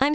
I'm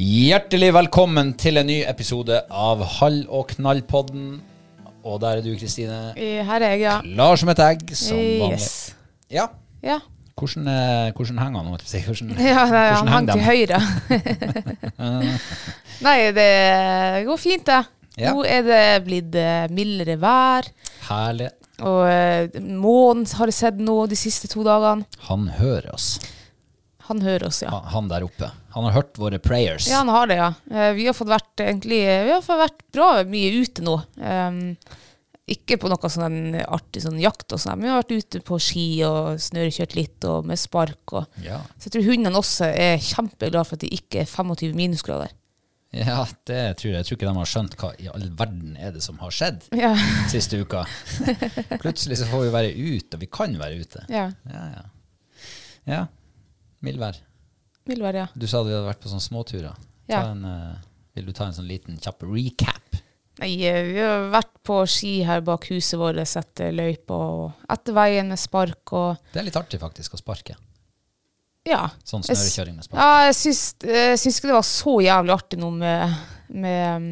Hjertelig velkommen til en ny episode av Hall og knall-podden. Og der er du, Kristine. I- Her er jeg, ja. Klar som et egg, som vanlig. Yes. Ja. Ja, Hvordan, eh, hvordan henger han nå? holdt jeg på å si? Hvordan, ja det, hvordan han hang til høyre. Nei, det går fint, det. Ja. Nå er det blitt eh, mildere vær, Herlig. og eh, månen har jeg sett nå de siste to dagene. Han hører oss. Han hører oss, ja. Han, han der oppe. Han har hørt våre prayers. Ja, han har det, ja. Eh, Vi har fått vært, egentlig, eh, vi har fått vært bra mye ute nå. Um, ikke på noe sånn en artig sånn jakt, og sånn, men vi har vært ute på ski og snørekjørt litt og med spark. Og. Ja. Så jeg tror hundene også er kjempeglad for at det ikke er 25 minusgrader. Ja, det tror jeg. Jeg tror ikke de har skjønt hva i all verden er det som har skjedd Ja. siste uka. Plutselig så får vi være ute, og vi kan være ute. Ja, Ja, ja. ja. Mildvær. vil være, ja. Du sa vi hadde vært på sånne småturer. Ja. Ta en, eh, vil du ta en sånn liten kjapp recap? Nei, eh, vi har vært på ski her bak huset vårt, etter løypa og etter veien med spark og Det er litt artig faktisk å sparke. ja. Sånn Jeg s- snørekjøring med spark. Ja, jeg syns, eh, jeg syns ikke det var så jævlig artig nå med, med um,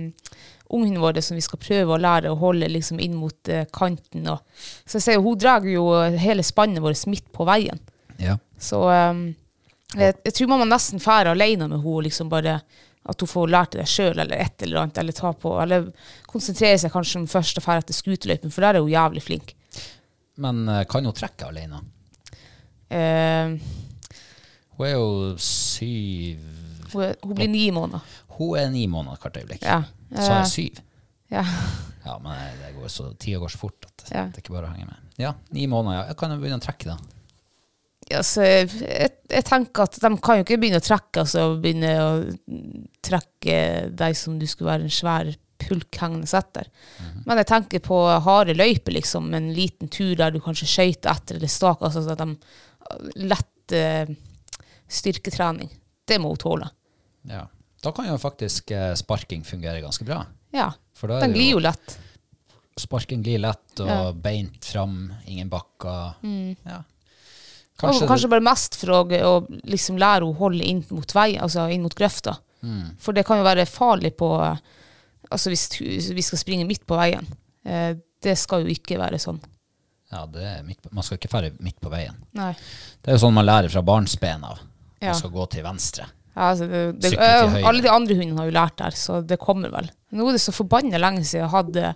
ungen vår som vi skal prøve å lære å holde liksom inn mot eh, kanten. Og. Så jeg ser jo, hun drar jo hele spannet vårt midt på veien. Ja. Så um, jeg, jeg tror man må nesten fære alene med henne, liksom bare at hun får lært det sjøl eller et eller annet, eller ta på, eller konsentrere seg kanskje om først å fære etter skuterløypen, for der er hun jævlig flink. Men eh, kan hun trekke alene? Eh, Hun er jo syv hun, er- hun blir ni måneder. Hun er ni måneder hvert øyeblikk. Ja. eh, Så er jeg syv. Ja. Ja, men eh, det går så, tida går så fort at Ja. det er ikke bare å henge med. Ja, ni måneder, ja. Jeg kan jo begynne å trekke, da. Ja, så Altså, jeg, jeg tenker at de kan jo ikke begynne å trekke, altså begynne å trekke deg som du skulle være en svær pulk hengende etter. Mhm. Men jeg tenker på harde løyper, liksom, en liten tur der du kanskje skøyter etter eller staker, altså så at de lett eh, styrketrening. Det må hun tåle. Ja. Da kan jo faktisk eh, sparking fungere ganske bra. Ja. For da er Den det jo- glir jo lett. Sparken glir lett og Ja. beint fram, ingen bakker. Ja. Kanskje, Kanskje, og kanskje bare mest for å, å liksom lære henne å holde inn mot vei, altså inn mot grøfta. Mm. For det kan jo være farlig på Altså hvis tu- vi skal springe midt på veien. Eh, det skal jo ikke være sånn. Ja, det er midt på, man skal ikke ferde midt på veien. Nei. Det er jo sånn man lærer fra barnsben av. Man Ja. skal gå til venstre. Ja, altså det, det, Sykle til høyre. alle de andre hundene har jo lært der, så det kommer vel. Nå er det så forbanna lenge siden jeg hadde,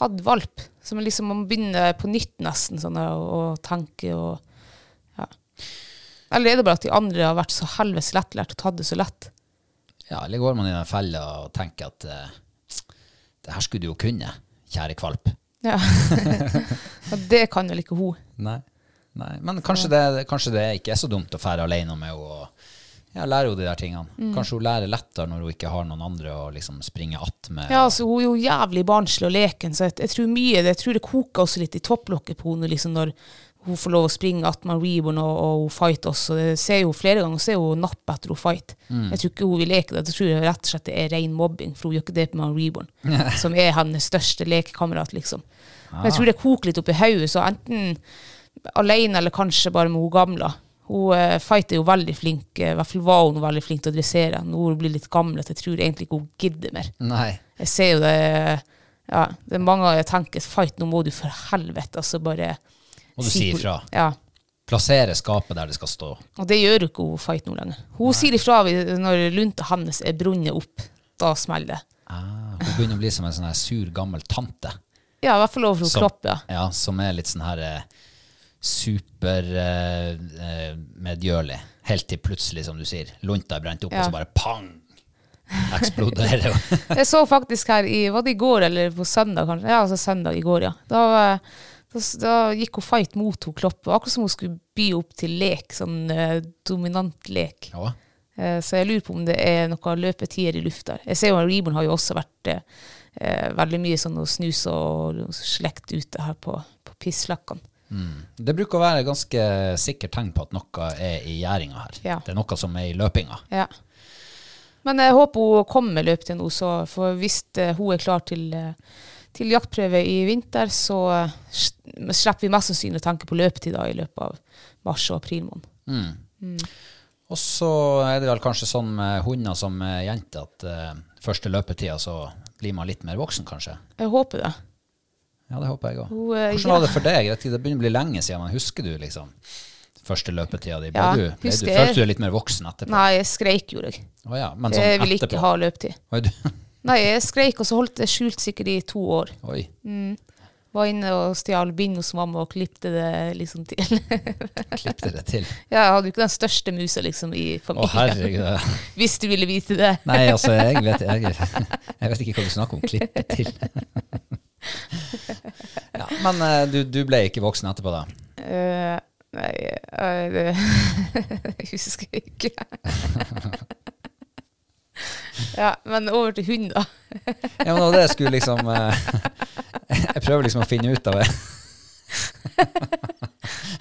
hadde valp. Så man liksom man begynner på nytt nesten sånn å, å tenke og ja. Eller er det bare at de andre har vært så helvetes lettlært og tatt det så lett? Ja, eller går man i den fella og tenker at eh, det her skulle du jo kunne, kjære kvalp. Ja. ja det kan vel ikke hun. Nei. Nei. Men kanskje det, kanskje det ikke er så dumt å fære alene med henne og ja, lære henne de der tingene. Mm. Kanskje hun lærer lettere når hun ikke har noen andre å liksom springe att med. Ja, altså, hun er jo jævlig barnslig og leken, så jeg, jeg tror mye det, jeg tror det koker også litt i topplokket på henne liksom, når hun får lov å springe attmed Reborn og, og hun fighter også. Det ser jeg jo flere ganger, ser hun napp etter hun fight. Jeg tror ikke hun vil leke det. Jeg tror jeg rett og slett det er ren mobbing, for hun gjør ikke det med Reborn, som er hennes største lekekamerat, liksom. Men jeg tror det koker litt opp i hodet, så enten alene eller kanskje bare med hun gamle. Hun eh, fighter jo veldig flink, eh, i hvert fall var hun veldig flink til å dressere. Nå blir hun blitt litt gammel, at jeg tror egentlig ikke hun gidder mer. Nei. Jeg ser jo det ja, Det er mange jeg tenker Fight, nå må du for helvete altså bare Må du si hvor- ifra. Ja. Plassere skapet der det skal stå. Og det gjør jo ikke hun Fight nå lenger. Hun sier ifra vi- når lunta hennes er brunnet opp. Da smeller det. Ah, hun begynner å bli som en sånn her sur, gammel tante. Ja, i hvert fall overfor Som- kroppen. Ja. Ja, som er litt sånn her eh, super eh, eh, medgjørlig. Helt til plutselig, som du sier, lunta er brent opp, Ja. og så bare pang! Eksploderer hun. Jeg så faktisk her i Var det i går eller på søndag, kanskje? Ja, altså søndag i går, ja. Da, eh, da, s- da gikk hun Fight mot hun Kloppe. Akkurat som hun skulle by opp til lek, sånn eh, dominant lek. Ja. Eh, Så jeg lurer på om det er noen løpetider i lufta. Jeg ser jo at Reborn har jo også vært eh, eh, veldig mye sånn å snuse og slekt ute her på, på pisslakkene. Det bruker å være et ganske sikkert tegn på at noe er i gjæringa her. Ja. Det er noe som er i løpinga. Ja. Men jeg håper hun kommer med løp til nå, så for hvis eh, hun er klar til, eh, til jaktprøve i vinter, så eh, s- slipper vi mest sannsynlig å tenke på løpetid da i løpet av mars og april måned. Og så er det vel kanskje sånn med hunder som med jenter at eh, første løpetida så blir man litt mer voksen, kanskje. Jeg håper det. Ja, det håper jeg òg. Hun, eh, Hvordan var det for deg? Vet ikke, Det begynner å bli lenge siden, men husker du liksom første løpetida di? Ble Ja, du, ble du, husker jeg. følte du deg litt mer voksen etterpå? Nei, jeg skreik gjorde jeg. Å ja, men sånn Jeg vil ikke etterpå. ha løpetid. Oi, du, Nei, jeg skreik, og så holdt jeg skjult sikkert i to år. oi. Var inne og stjal bind hos mamma og klippte det liksom til. Klipp dere til. Ja, jeg hadde jo ikke den største musa liksom i Å familien. herregud. Hvis du ville vite det. Nei, altså, jeg vet, jeg, jeg vet ikke hva du snakker om. Klippe til. Ja, men eh, du, du ble ikke voksen etterpå, da? Eh, nei, eh, det husker jeg ikke. ja, men over til hund, da. Ja, men det var det jeg skulle liksom eh, Jeg prøver liksom å finne ut av det.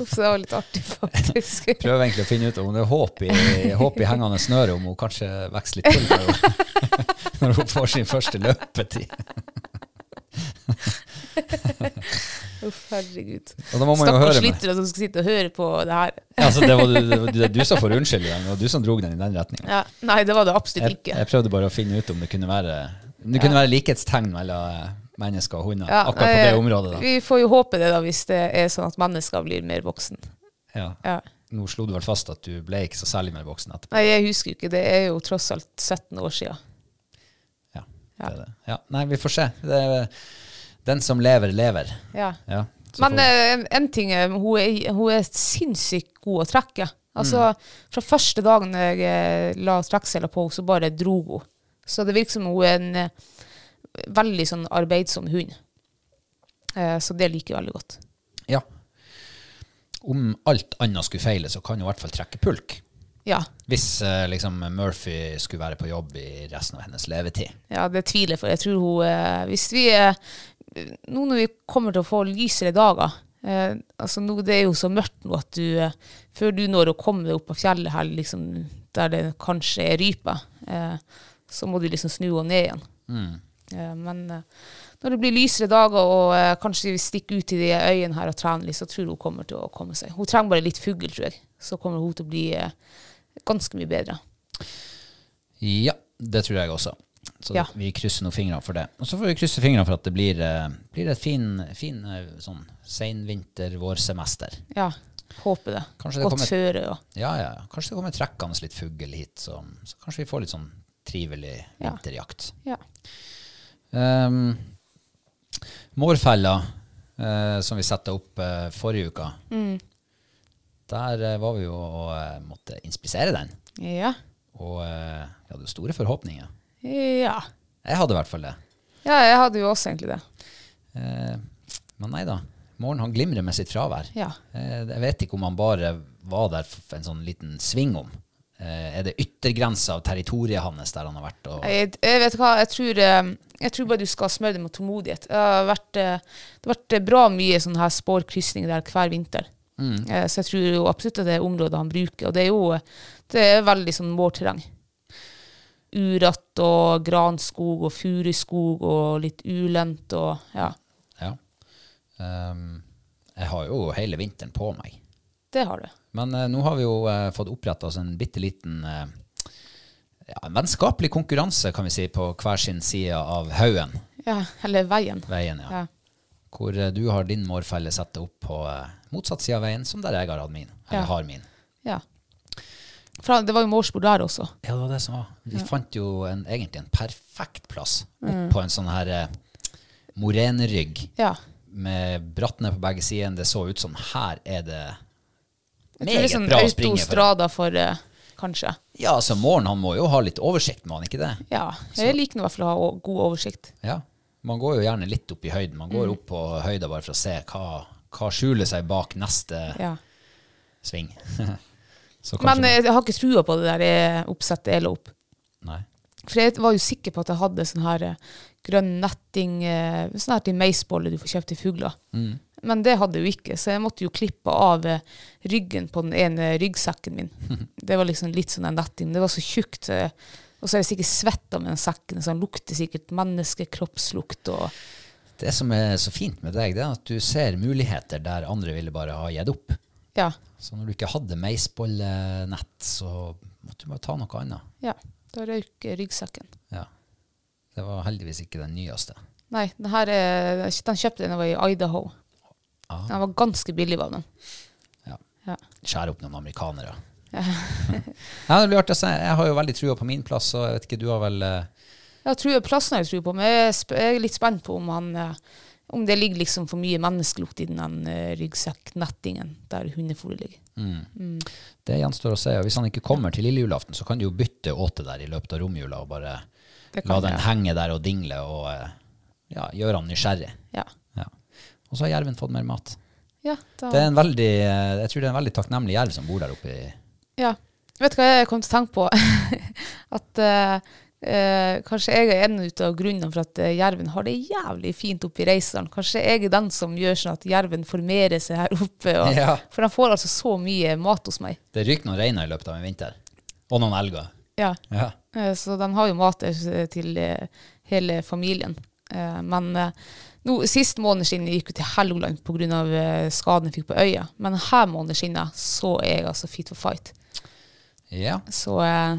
Uff, det var litt artig, faktisk. Prøver egentlig å finne ut om det er håp i, håp i hengende snøre, om hun kanskje vokser litt til når hun, når hun får sin første løpetid. Uff, herregud. Og da må man jo Stakkars høre med. lyttere som skal sitte og høre på det her. Altså, det var du, det var du som får unnskylde den, og du som drog den i den retninga. Ja, nei, det var det Jeg, absolutt ikke. jeg prøvde bare å finne ut om det kunne være om Det kunne være likhetstegn mellom eh, mennesker og hunder Ja, akkurat på nei, det området. da. Vi får jo håpe det, da, hvis det er sånn at mennesker blir mer voksen. Ja. Ja. Nå slo du vel fast at du ble ikke så særlig mer voksen etterpå. Nei, jeg husker jo ikke. Det er jo tross alt 17 år siden. Ja, det er det. Ja. Nei, vi får se. Det er, den som lever, lever. Ja. Ja, så Men får- eh, en, en ting er hun, er hun er sinnssykt god å trekke. Altså, Mm. Fra første dagen jeg eh, la trekkseler på henne, så bare dro hun. Så det virker som hun er en eh, veldig sånn arbeidsom hund. Eh, så det liker jeg veldig godt. ja. Om alt annet skulle feile, så kan hun i hvert fall trekke pulk. Ja, Hvis eh, liksom Murphy skulle være på jobb i resten av hennes levetid. ja det tviler jeg for. Jeg tror hun eh, Hvis vi eh, Nå når vi kommer til å få lysere dager eh, altså nå, Det er jo så mørkt nå at du eh, Før du når å komme deg opp på fjellet her, liksom, der det kanskje er rype, eh, så må du liksom snu og ned igjen. Mm. Eh, men eh, når det blir lysere dager, og eh, kanskje vi stikker ut i de øyene her og trener litt, så tror jeg hun kommer til å komme seg. Hun trenger bare litt fugl, tror jeg. Så kommer hun til å bli eh, ganske mye bedre. Ja, det tror jeg også. Så Ja. vi krysser noen fingre for det. Og så får vi krysse fingrene for at det blir, eh, blir et fin, fin eh, sånn seinvinter-vårsemester. Ja, håper det. Kanskje det Godt kommer- føre og Ja, ja. ja. Kanskje det kommer trekkende litt fugl hit, så, så kanskje vi får litt sånn trivelig Ja. vinterjakt. Ja. Um, mårfella, eh, som vi satte opp eh, forrige uka, Der eh, var vi jo og eh, måtte inspisere den. Ja. Og eh, vi hadde jo store forhåpninger. Ja. Jeg hadde i hvert fall det. ja, jeg hadde jo også egentlig det. Eh, men nei da. Morgen han glimrer med sitt fravær. Ja. Eh, jeg vet ikke om han bare var der for en sånn liten sving om. Eh, er det yttergrensa av territoriet hans der han har vært? Og, Jeg, jeg vet hva, jeg tror, eh, jeg tror bare du skal smøre det med tålmodighet. Det har vært, eh, det har vært eh, bra mye sånne her spårkrysninger der hver vinter. Eh, Så jeg tror jo absolutt at det er området han bruker. Og det er jo eh, det er veldig sånn vårterreng. Uratt og granskog og furuskog og litt ulendt og ja. ja. Ehm, jeg har jo hele vinteren på meg. Det har du. Men eh, nå har vi jo eh, fått oppretta oss en bitte liten eh, ja, en vennskapelig konkurranse, kan vi si, på hver sin side av haugen. Ja, eller veien. Veien, ja. Ja. Hvor eh, du har din mårfelle satt opp på eh, motsatt side av veien, som der jeg har hatt min. Eller Ja. har min. ja. For det var jo målspor der også. Ja, det var det som var. Vi fant jo en, egentlig en perfekt plass opp Mm. på en sånn her eh, morenerygg Ja. med bratt ned på begge sider. Det så ut som her er det Jeg tror det meget er sånn bra å springe for. autostrada for, eh, kanskje. Ja, altså Morn han må jo ha litt oversikt, må han ikke det? Ja. Jeg liker nå i hvert fall å ha o- god oversikt. Ja. Man går jo gjerne litt opp i høyden. Man Mm. går opp på høyda bare for å se hva, hva skjuler seg bak neste Ja. sving. så Men man- eh, jeg har ikke trua på det der eh, oppsettet jeg la opp. Nei. For jeg var jo sikker på at jeg hadde sånn her eh, grønn netting, eh, sånn her til meisboller du får kjøpt i fugler. Mm. Men det hadde jeg jo ikke, så jeg måtte jo klippe av eh, ryggen på den ene ryggsekken min. Det var liksom litt sånn en netting, men det var så tjukt. eh, Og så er jeg sikkert svetta med den sekken, så den lukter sikkert menneskekroppslukt og Det som er så fint med deg, det er at du ser muligheter der andre ville bare ha gitt opp. Ja. Så når du ikke hadde meisbollenett, så måtte du bare ta noe annet. ja da røyk eh, ryggsekken. Ja. Det var heldigvis ikke den nyeste. Nei, den her eh, den kjøpte jeg da jeg var i Idaho. Ah. Den var ganske billig, var den. Ja. Ja. Skjære opp noen amerikanere. ja, det blir artig å se. Jeg har jo veldig trua på min plass, og jeg vet ikke, du har vel eh, Jeg tror plassen har jeg tro på, men jeg er sp- jeg er litt spent på om, han, eh, om det ligger liksom for mye menneskelukt i den eh, ryggsekknettingen der hundefôret ligger. Mm. Det gjenstår å se. og Hvis han ikke kommer til lille julaften, så kan du jo bytte åte der i løpet av romjula og bare Det la kan den jeg. henge der og dingle og eh, ja, gjøre han nysgjerrig. Ja. Ja. Og så har jerven fått mer mat. Ja, da, Det er en veldig, eh, jeg tror det er en veldig takknemlig jerv som bor der oppe. i- ja. Vet du hva jeg kom til å tenke på? at eh, eh, kanskje jeg er en ut av grunnen for at eh, jerven har det jævlig fint oppe i Reisedalen. Kanskje jeg er den som gjør sånn at jerven formerer seg her oppe. Og, Ja. For den får altså så mye mat hos meg. Det ryker noen reiner i løpet av en vinter. Og noen elger. Ja. Ja. Eh, Så de har jo mat der til eh, hele familien. Eh, Men eh, nå, sist måned siden jeg gikk jo til Helgoland pga. eh, skaden jeg fikk på øya. Men her måneden siden så er jeg altså fit for fight. ja. Så eh,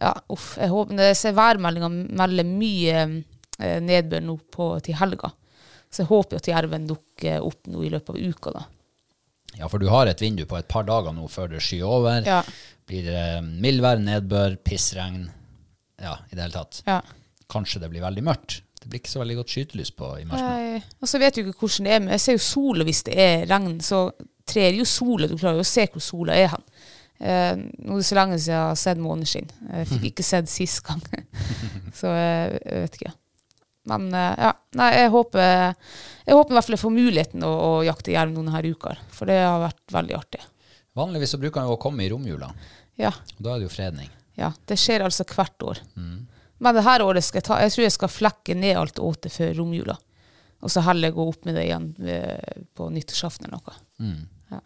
ja, uff. Jeg håper, jeg ser værmeldinga melder mye eh, nedbør nå på, til helga. Så jeg håper jo at jerven dukker opp nå i løpet av uka, da. Ja, for du har et vindu på et par dager nå før det skyer over. Ja. Blir det mildvær, nedbør, pissregn. Ja, i det hele tatt. Ja. Kanskje det blir veldig mørkt. Det blir ikke så veldig godt skytelys på i mars. nå. Nei. Og så vet du ikke hvordan det er, men jeg ser jo sola hvis det er regn, så trer jo sola. Du klarer jo å se hvor sola er hen. Eh, nå er det så lenge siden jeg har sett måneskinn. Jeg fikk ikke sett sist gang. så eh, jeg vet ikke. Men eh, ja, nei, jeg håper, jeg håper i hvert fall jeg får muligheten å, å jakte jerv noen her uker, for det har vært veldig artig. Vanligvis så bruker han jo å komme i romjula, og Ja, da er det jo fredning. ja, det skjer altså hvert år. Men det her året skal jeg ta, jeg tror jeg skal flekke ned alt åtet før romjula. Og så heller gå opp med det igjen eh, på nyttårsaften eller noe.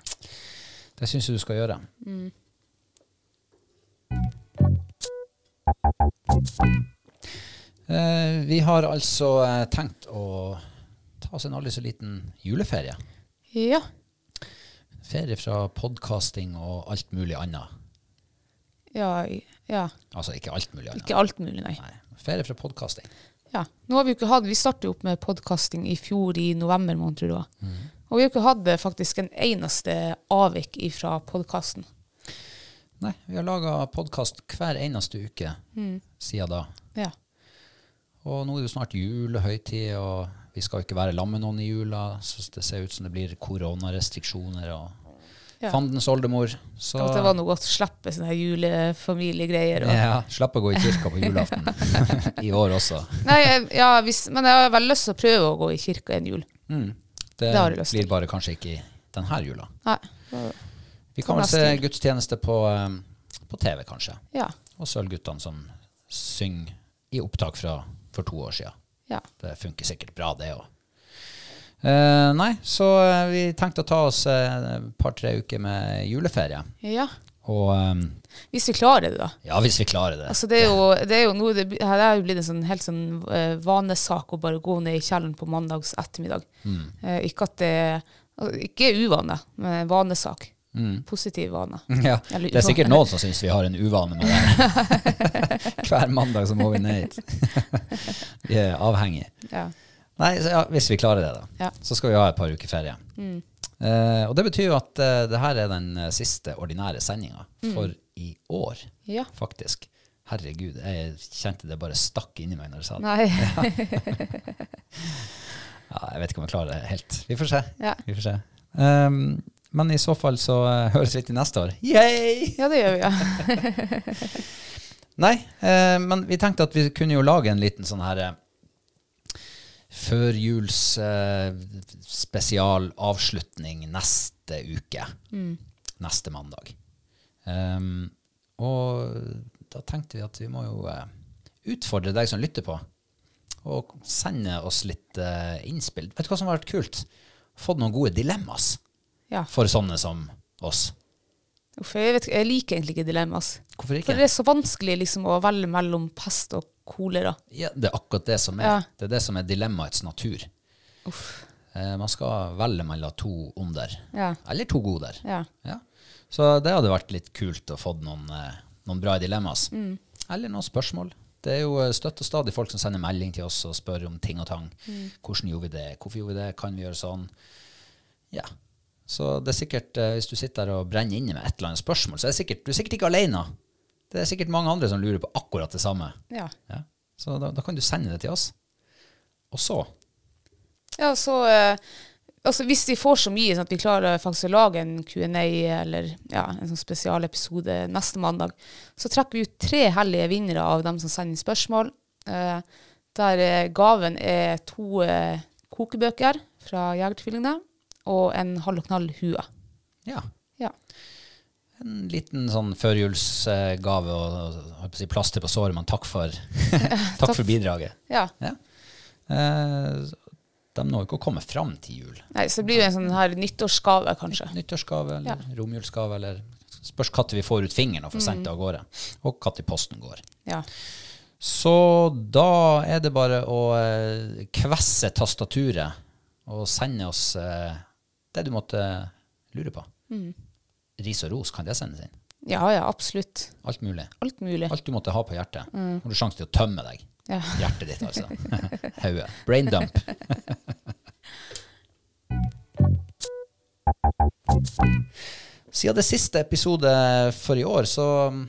Det syns jeg du skal gjøre. Eh, vi har altså eh, tenkt å ta oss en aldri så liten juleferie. Ja. Ferie fra podkasting og alt mulig annet. Ja, i- ja. Altså ikke alt mulig annet. Ikke alt mulig, nei. Nei. Ferie fra podkasting. Ja. Nå har Vi jo ikke hatt, vi startet jo opp med podkasting i fjor i november måned, tror jeg det var. Og vi har jo ikke hatt eh, faktisk en eneste avvik fra podkasten. Nei, vi har laga podkast hver eneste uke siden da. Ja. Og nå er det jo snart jul og høytid, og vi skal jo ikke være lam med noen i jula, så det ser ut som det blir koronarestriksjoner og Ja. fandens oldemor. Så At det var noe godt å slippe sånne her julefamiliegreier. Og. ja, slapp å gå i kirka på julaften i år også. Nei, jeg- ja, hvis, men jeg har veldig lyst til å prøve å gå i kirka en jul. Mm. Det, Det har jeg lyst til. blir bare kanskje ikke i denne jula. Nei. Vi kan vel se Neste jul. gudstjeneste på, eh, på TV, kanskje. Ja. Og Sølvguttene som synger i opptak fra for to år siden. ja. Det funker sikkert bra, det òg. Eh, nei, så eh, vi tenkte å ta oss eh, et par-tre uker med juleferie. Ja. Og eh, Hvis vi klarer det, da. ja, hvis vi klarer det. Altså, det er jo, det er jo noe det, her er jo blitt en sånn, helt sånn eh, vanesak å bare gå ned i kjelleren på mandags ettermiddag. Eh, ikke at det altså, Ikke uvane, men vanesak. Positiv vane. Ja, Eller det er sikkert uvane. noen som syns vi har en uvane med det. Hver mandag så må vi ned hit. Vi er avhengige. Ja. Nei, så, ja, hvis vi klarer det, da. Ja. Så skal vi ha et par uker ferie. Eh, og det betyr jo at eh, det her er den eh, siste ordinære sendinga for i år, Ja. faktisk. Herregud, jeg kjente det bare stakk inni meg når jeg sa det. Nei. Ja, jeg vet ikke om jeg klarer det helt. Vi får se. Ja. Vi får se. Ehm, men i så fall så eh, høres vi til neste år. Yay! Ja, det gjør vi, ja. Nei, eh, men vi tenkte at vi kunne jo lage en liten sånn her eh, førjuls eh, spesialavslutning neste uke. Mm. Neste mandag. Ehm, og da tenkte vi at vi må jo eh, utfordre deg som lytter på, og sende oss litt eh, innspill. Vet du hva som har vært kult? Fått noen gode dilemmas ja. for sånne som oss. Uff, jeg, vet, ikke- jeg liker egentlig ikke dilemmas. Hvorfor ikke? For det er så vanskelig liksom, å velge mellom pest og kolera. Ja, det er akkurat det som er, Ja. det er, det som er dilemmaets natur. Eh, man skal velge mellom to onder. Ja. Eller to goder. Ja. Ja. Så det hadde vært litt kult å få noen, eh, noen bra dilemmas. Mm. Eller noen spørsmål. Det er jo eh, støtt og stadig folk som sender melding til oss og spør om ting og tang. Mm. Hvordan gjorde vi det? Hvorfor gjorde vi det? Kan vi gjøre sånn? Ja. Så det er sikkert, eh, hvis du sitter der og brenner inne med et eller annet spørsmål, så er det sikkert, du er sikkert ikke alene. Det er sikkert mange andre som lurer på akkurat det samme. Ja. Ja. Så da, da kan du sende det til oss. Og så Ja, så eh, altså Hvis vi får så mye sånn at vi klarer faktisk å lage en Q&A eller ja, en sånn spesialepisode neste mandag, så trekker vi ut tre hellige vinnere av dem som sender inn spørsmål. eh, der eh, gaven er to eh, kokebøker fra Jegertvillingene og en halv og knall hue. ja, Ja. en liten sånn førjulsgave og, og holdt på å si plaster på såret, men takk for, takk for bidraget. ja. Ja. Eh, de når jo ikke å komme fram til jul. Nei, så det blir jo en sånn her nyttårsgave, kanskje. Nyttårsgave eller romjulsgave eller Spørs når vi får ut fingeren og får sendt det av gårde, og når posten går. Ja. Så da er det bare å eh, kvesse tastaturet og sende oss eh, det du måtte lure på. Ris og ros, kan det sendes inn? ja, ja, absolutt. Alt mulig. Alt mulig. Alt du måtte ha på hjertet. Mm. Har du sjanse til å tømme deg. Ja. Hjertet ditt, altså. Hodet. Brain dump. Siden det siste episode for i år, så mm,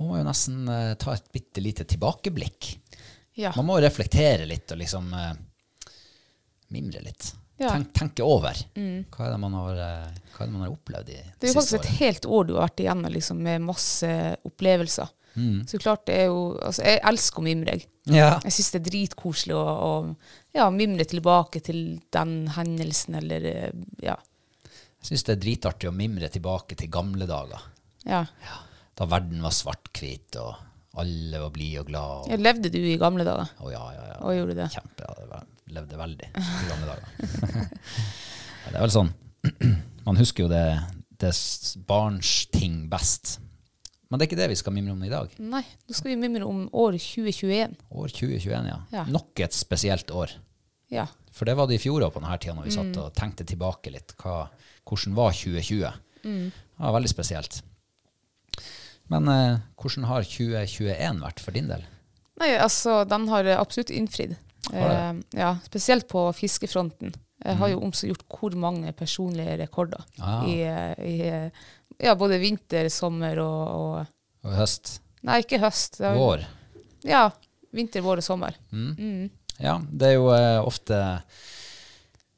må man jo nesten eh, ta et bitte lite tilbakeblikk. Ja. Man må reflektere litt og liksom eh, mimre litt. Ja. Mm. Tenk, tenke over. Hva, er det man har, eh, hva er det man har opplevd i Det er jo siste faktisk et året? helt år du har vært igjennom liksom, med masse opplevelser. Mm. Så klart det er jo, altså, Jeg elsker å mimre. jeg. Ja. Jeg syns det er dritkoselig å, å ja, mimre tilbake til den hendelsen eller eh, ja. Jeg syns det er dritartig å mimre tilbake til gamle dager. ja. Da verden var svart-hvit, og alle var blide og glad. Og, Jeg levde du i gamle dager? Å, ja, ja, ja. Og gjorde det? Kjempe. Ja, det var, levde veldig i gamle dager. ja, det er vel sånn Man husker jo det, det s- barns ting best. Men det er ikke det vi skal mimre om i dag. Nei, nå skal vi mimre om år 2021. År 2021, ja. Ja. Nok et spesielt år. Ja. For det var det i fjor også på denne tida når vi Mm. satt og tenkte tilbake litt. Hva, hvordan var 2020? Mm. Ja, veldig spesielt. Men eh, hvordan har 2021 vært for din del? Nei, altså, den har eh, absolutt innfridd. Eh, Har Mhm. ja, spesielt på fiskefronten. Jeg har jo omsgjort hvor mange personlige rekorder Ah. i, eh, i eh, ja, både vinter, sommer og, og Og høst? Nei, ikke høst. Det er- Vår? Ja. Vinter, vår og sommer. Ja, det er jo eh, ofte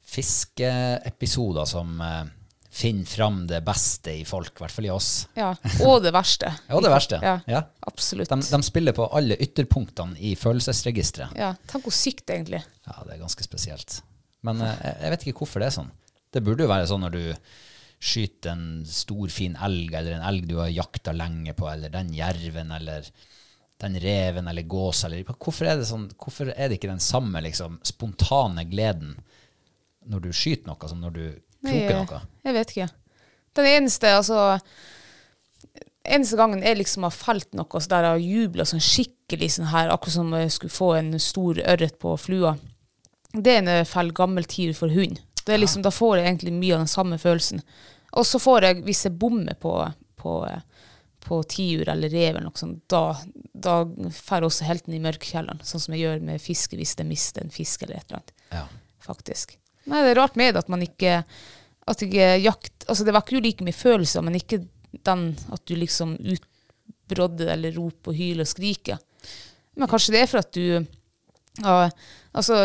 fiskeepisoder som eh, finne fram det beste i folk, i hvert fall i oss. Ja. Og det verste. Ja, det verste. Ja, Ja. Absolutt. De, de spiller på alle ytterpunktene i følelsesregisteret. Ja, Tenk hvor sykt, egentlig. Ja, det er ganske spesielt. Men eh, jeg, jeg vet ikke hvorfor det er sånn. Det burde jo være sånn når du skyter en stor, fin elg, eller en elg du har jakta lenge på, eller den jerven, eller den reven, eller gås, eller Hvorfor er det, sånn, hvorfor er det ikke den samme liksom, spontane gleden når du skyter noe, som når du kroker Nei, noe? Jeg vet ikke. Den eneste, altså Eneste gangen jeg liksom har felt noe så der jeg har jubla sånn skikkelig sånn her, akkurat som jeg skulle få en stor ørret på flua, det er når jeg feller gammel tiur for hund. Det er liksom, Da får jeg egentlig mye av den samme følelsen. Og så får jeg, hvis jeg bommer på, på, på tiur eller rev, eller noe sånt, da, da får også helten i mørkekjelleren, sånn som jeg gjør med fiske hvis jeg mister en fisk eller et eller annet Ja. faktisk. Nei, det er rart med det at man ikke At ikke jakt Altså, det vekker jo like mye følelser, men ikke den at du liksom utbrodder eller roper og hyler og skriker. Men kanskje det er for at du ja, Altså,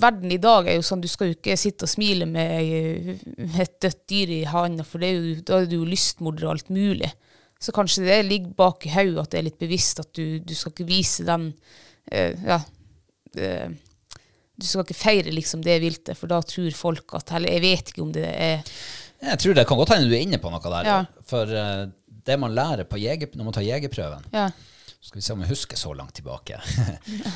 verden i dag er jo sånn, du skal jo ikke sitte og smile med ei- et dødt dyr i handa, for det er jo, da er du jo lystmorder og alt mulig. Så kanskje det ligger bak i hodet at det er litt bevisst at du, du skal ikke vise den eh, ja, eh, du skal ikke feire liksom det viltet, for da tror folk at Eller jeg vet ikke om det er Jeg tror det kan godt hende du er inne på noe der. Ja. For eh, det man lærer på jeger, når man tar jegerprøven, Ja. Skal vi se om jeg husker så langt tilbake.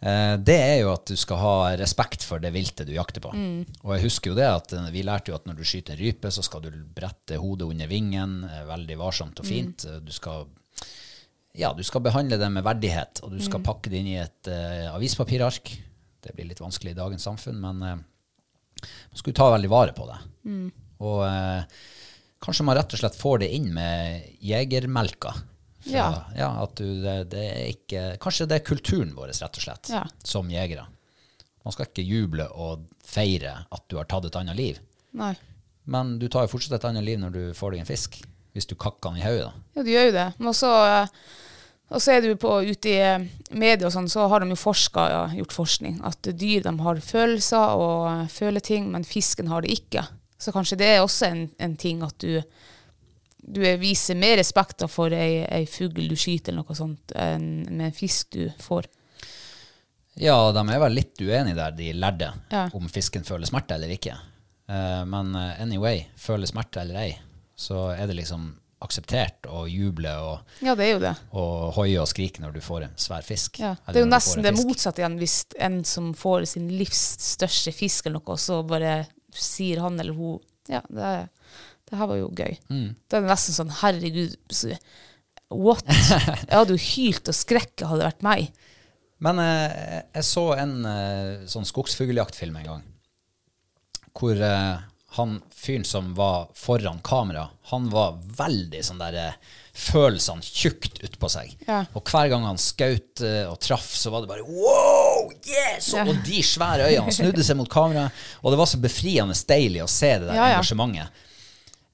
Eh, det er jo at du skal ha respekt for det viltet du jakter på. Og jeg husker jo det at eh, vi lærte jo at når du skyter en rype, så skal du brette hodet under vingen eh, veldig varsomt og fint. Eh, Du skal ja, du skal behandle det med verdighet, og du skal pakke det inn i et eh, avispapirark. Det blir litt vanskelig i dagens samfunn, men eh, man skulle ta veldig vare på det. Og eh, kanskje man rett og slett får det inn med jegermelka. Fra, ja. Ja. at du, det, det er ikke, kanskje det er kulturen vår, rett og slett, Ja. som jegere. Man skal ikke juble og feire at du har tatt et annet liv. Nei. Men du tar jo fortsatt et annet liv når du får deg en fisk. Hvis du kakker den i hodet, da. Ja, du gjør jo det. Men også, eh, og så er det jo på, ute i eh, media og sånn, så har de jo forska, ja, gjort forskning, at dyr de har følelser og eh, føler ting, men fisken har det ikke. Så kanskje det er også en, en ting at du, du er- viser mer respekt da for ei, ei fugl du skyter eller noe sånt, enn med en fisk du får. Ja, de er vel litt uenige der, de lærde, Ja. om fisken føler smerte eller ikke. Eh, men eh, anyway, føler smerte eller ei, så er det liksom akseptert å juble og, Ja, det er jo det. og hoie og skrike når du får en svær fisk. Ja, eller det er når du jo får nesten det en fisk. motsatte igjen hvis en som får sin livs største fisk eller noe, og så bare sier han eller hun Ja, det, det her var jo gøy. Mm. Da er det nesten sånn Herregud, så- what? Jeg hadde jo hylt og skrekket hadde det vært meg. Men eh, jeg så en eh, sånn skogsfugljaktfilm en gang, hvor eh, han fyren som var foran kamera, han var veldig sånn der eh, følelsene tjukt utpå seg. Ja. Og hver gang han skjøt eh, og traff, så var det bare wow, yes! Og, og de svære øynene han snudde seg mot kameraet, og det var så befriende deilig å se det der Ja, ja. engasjementet.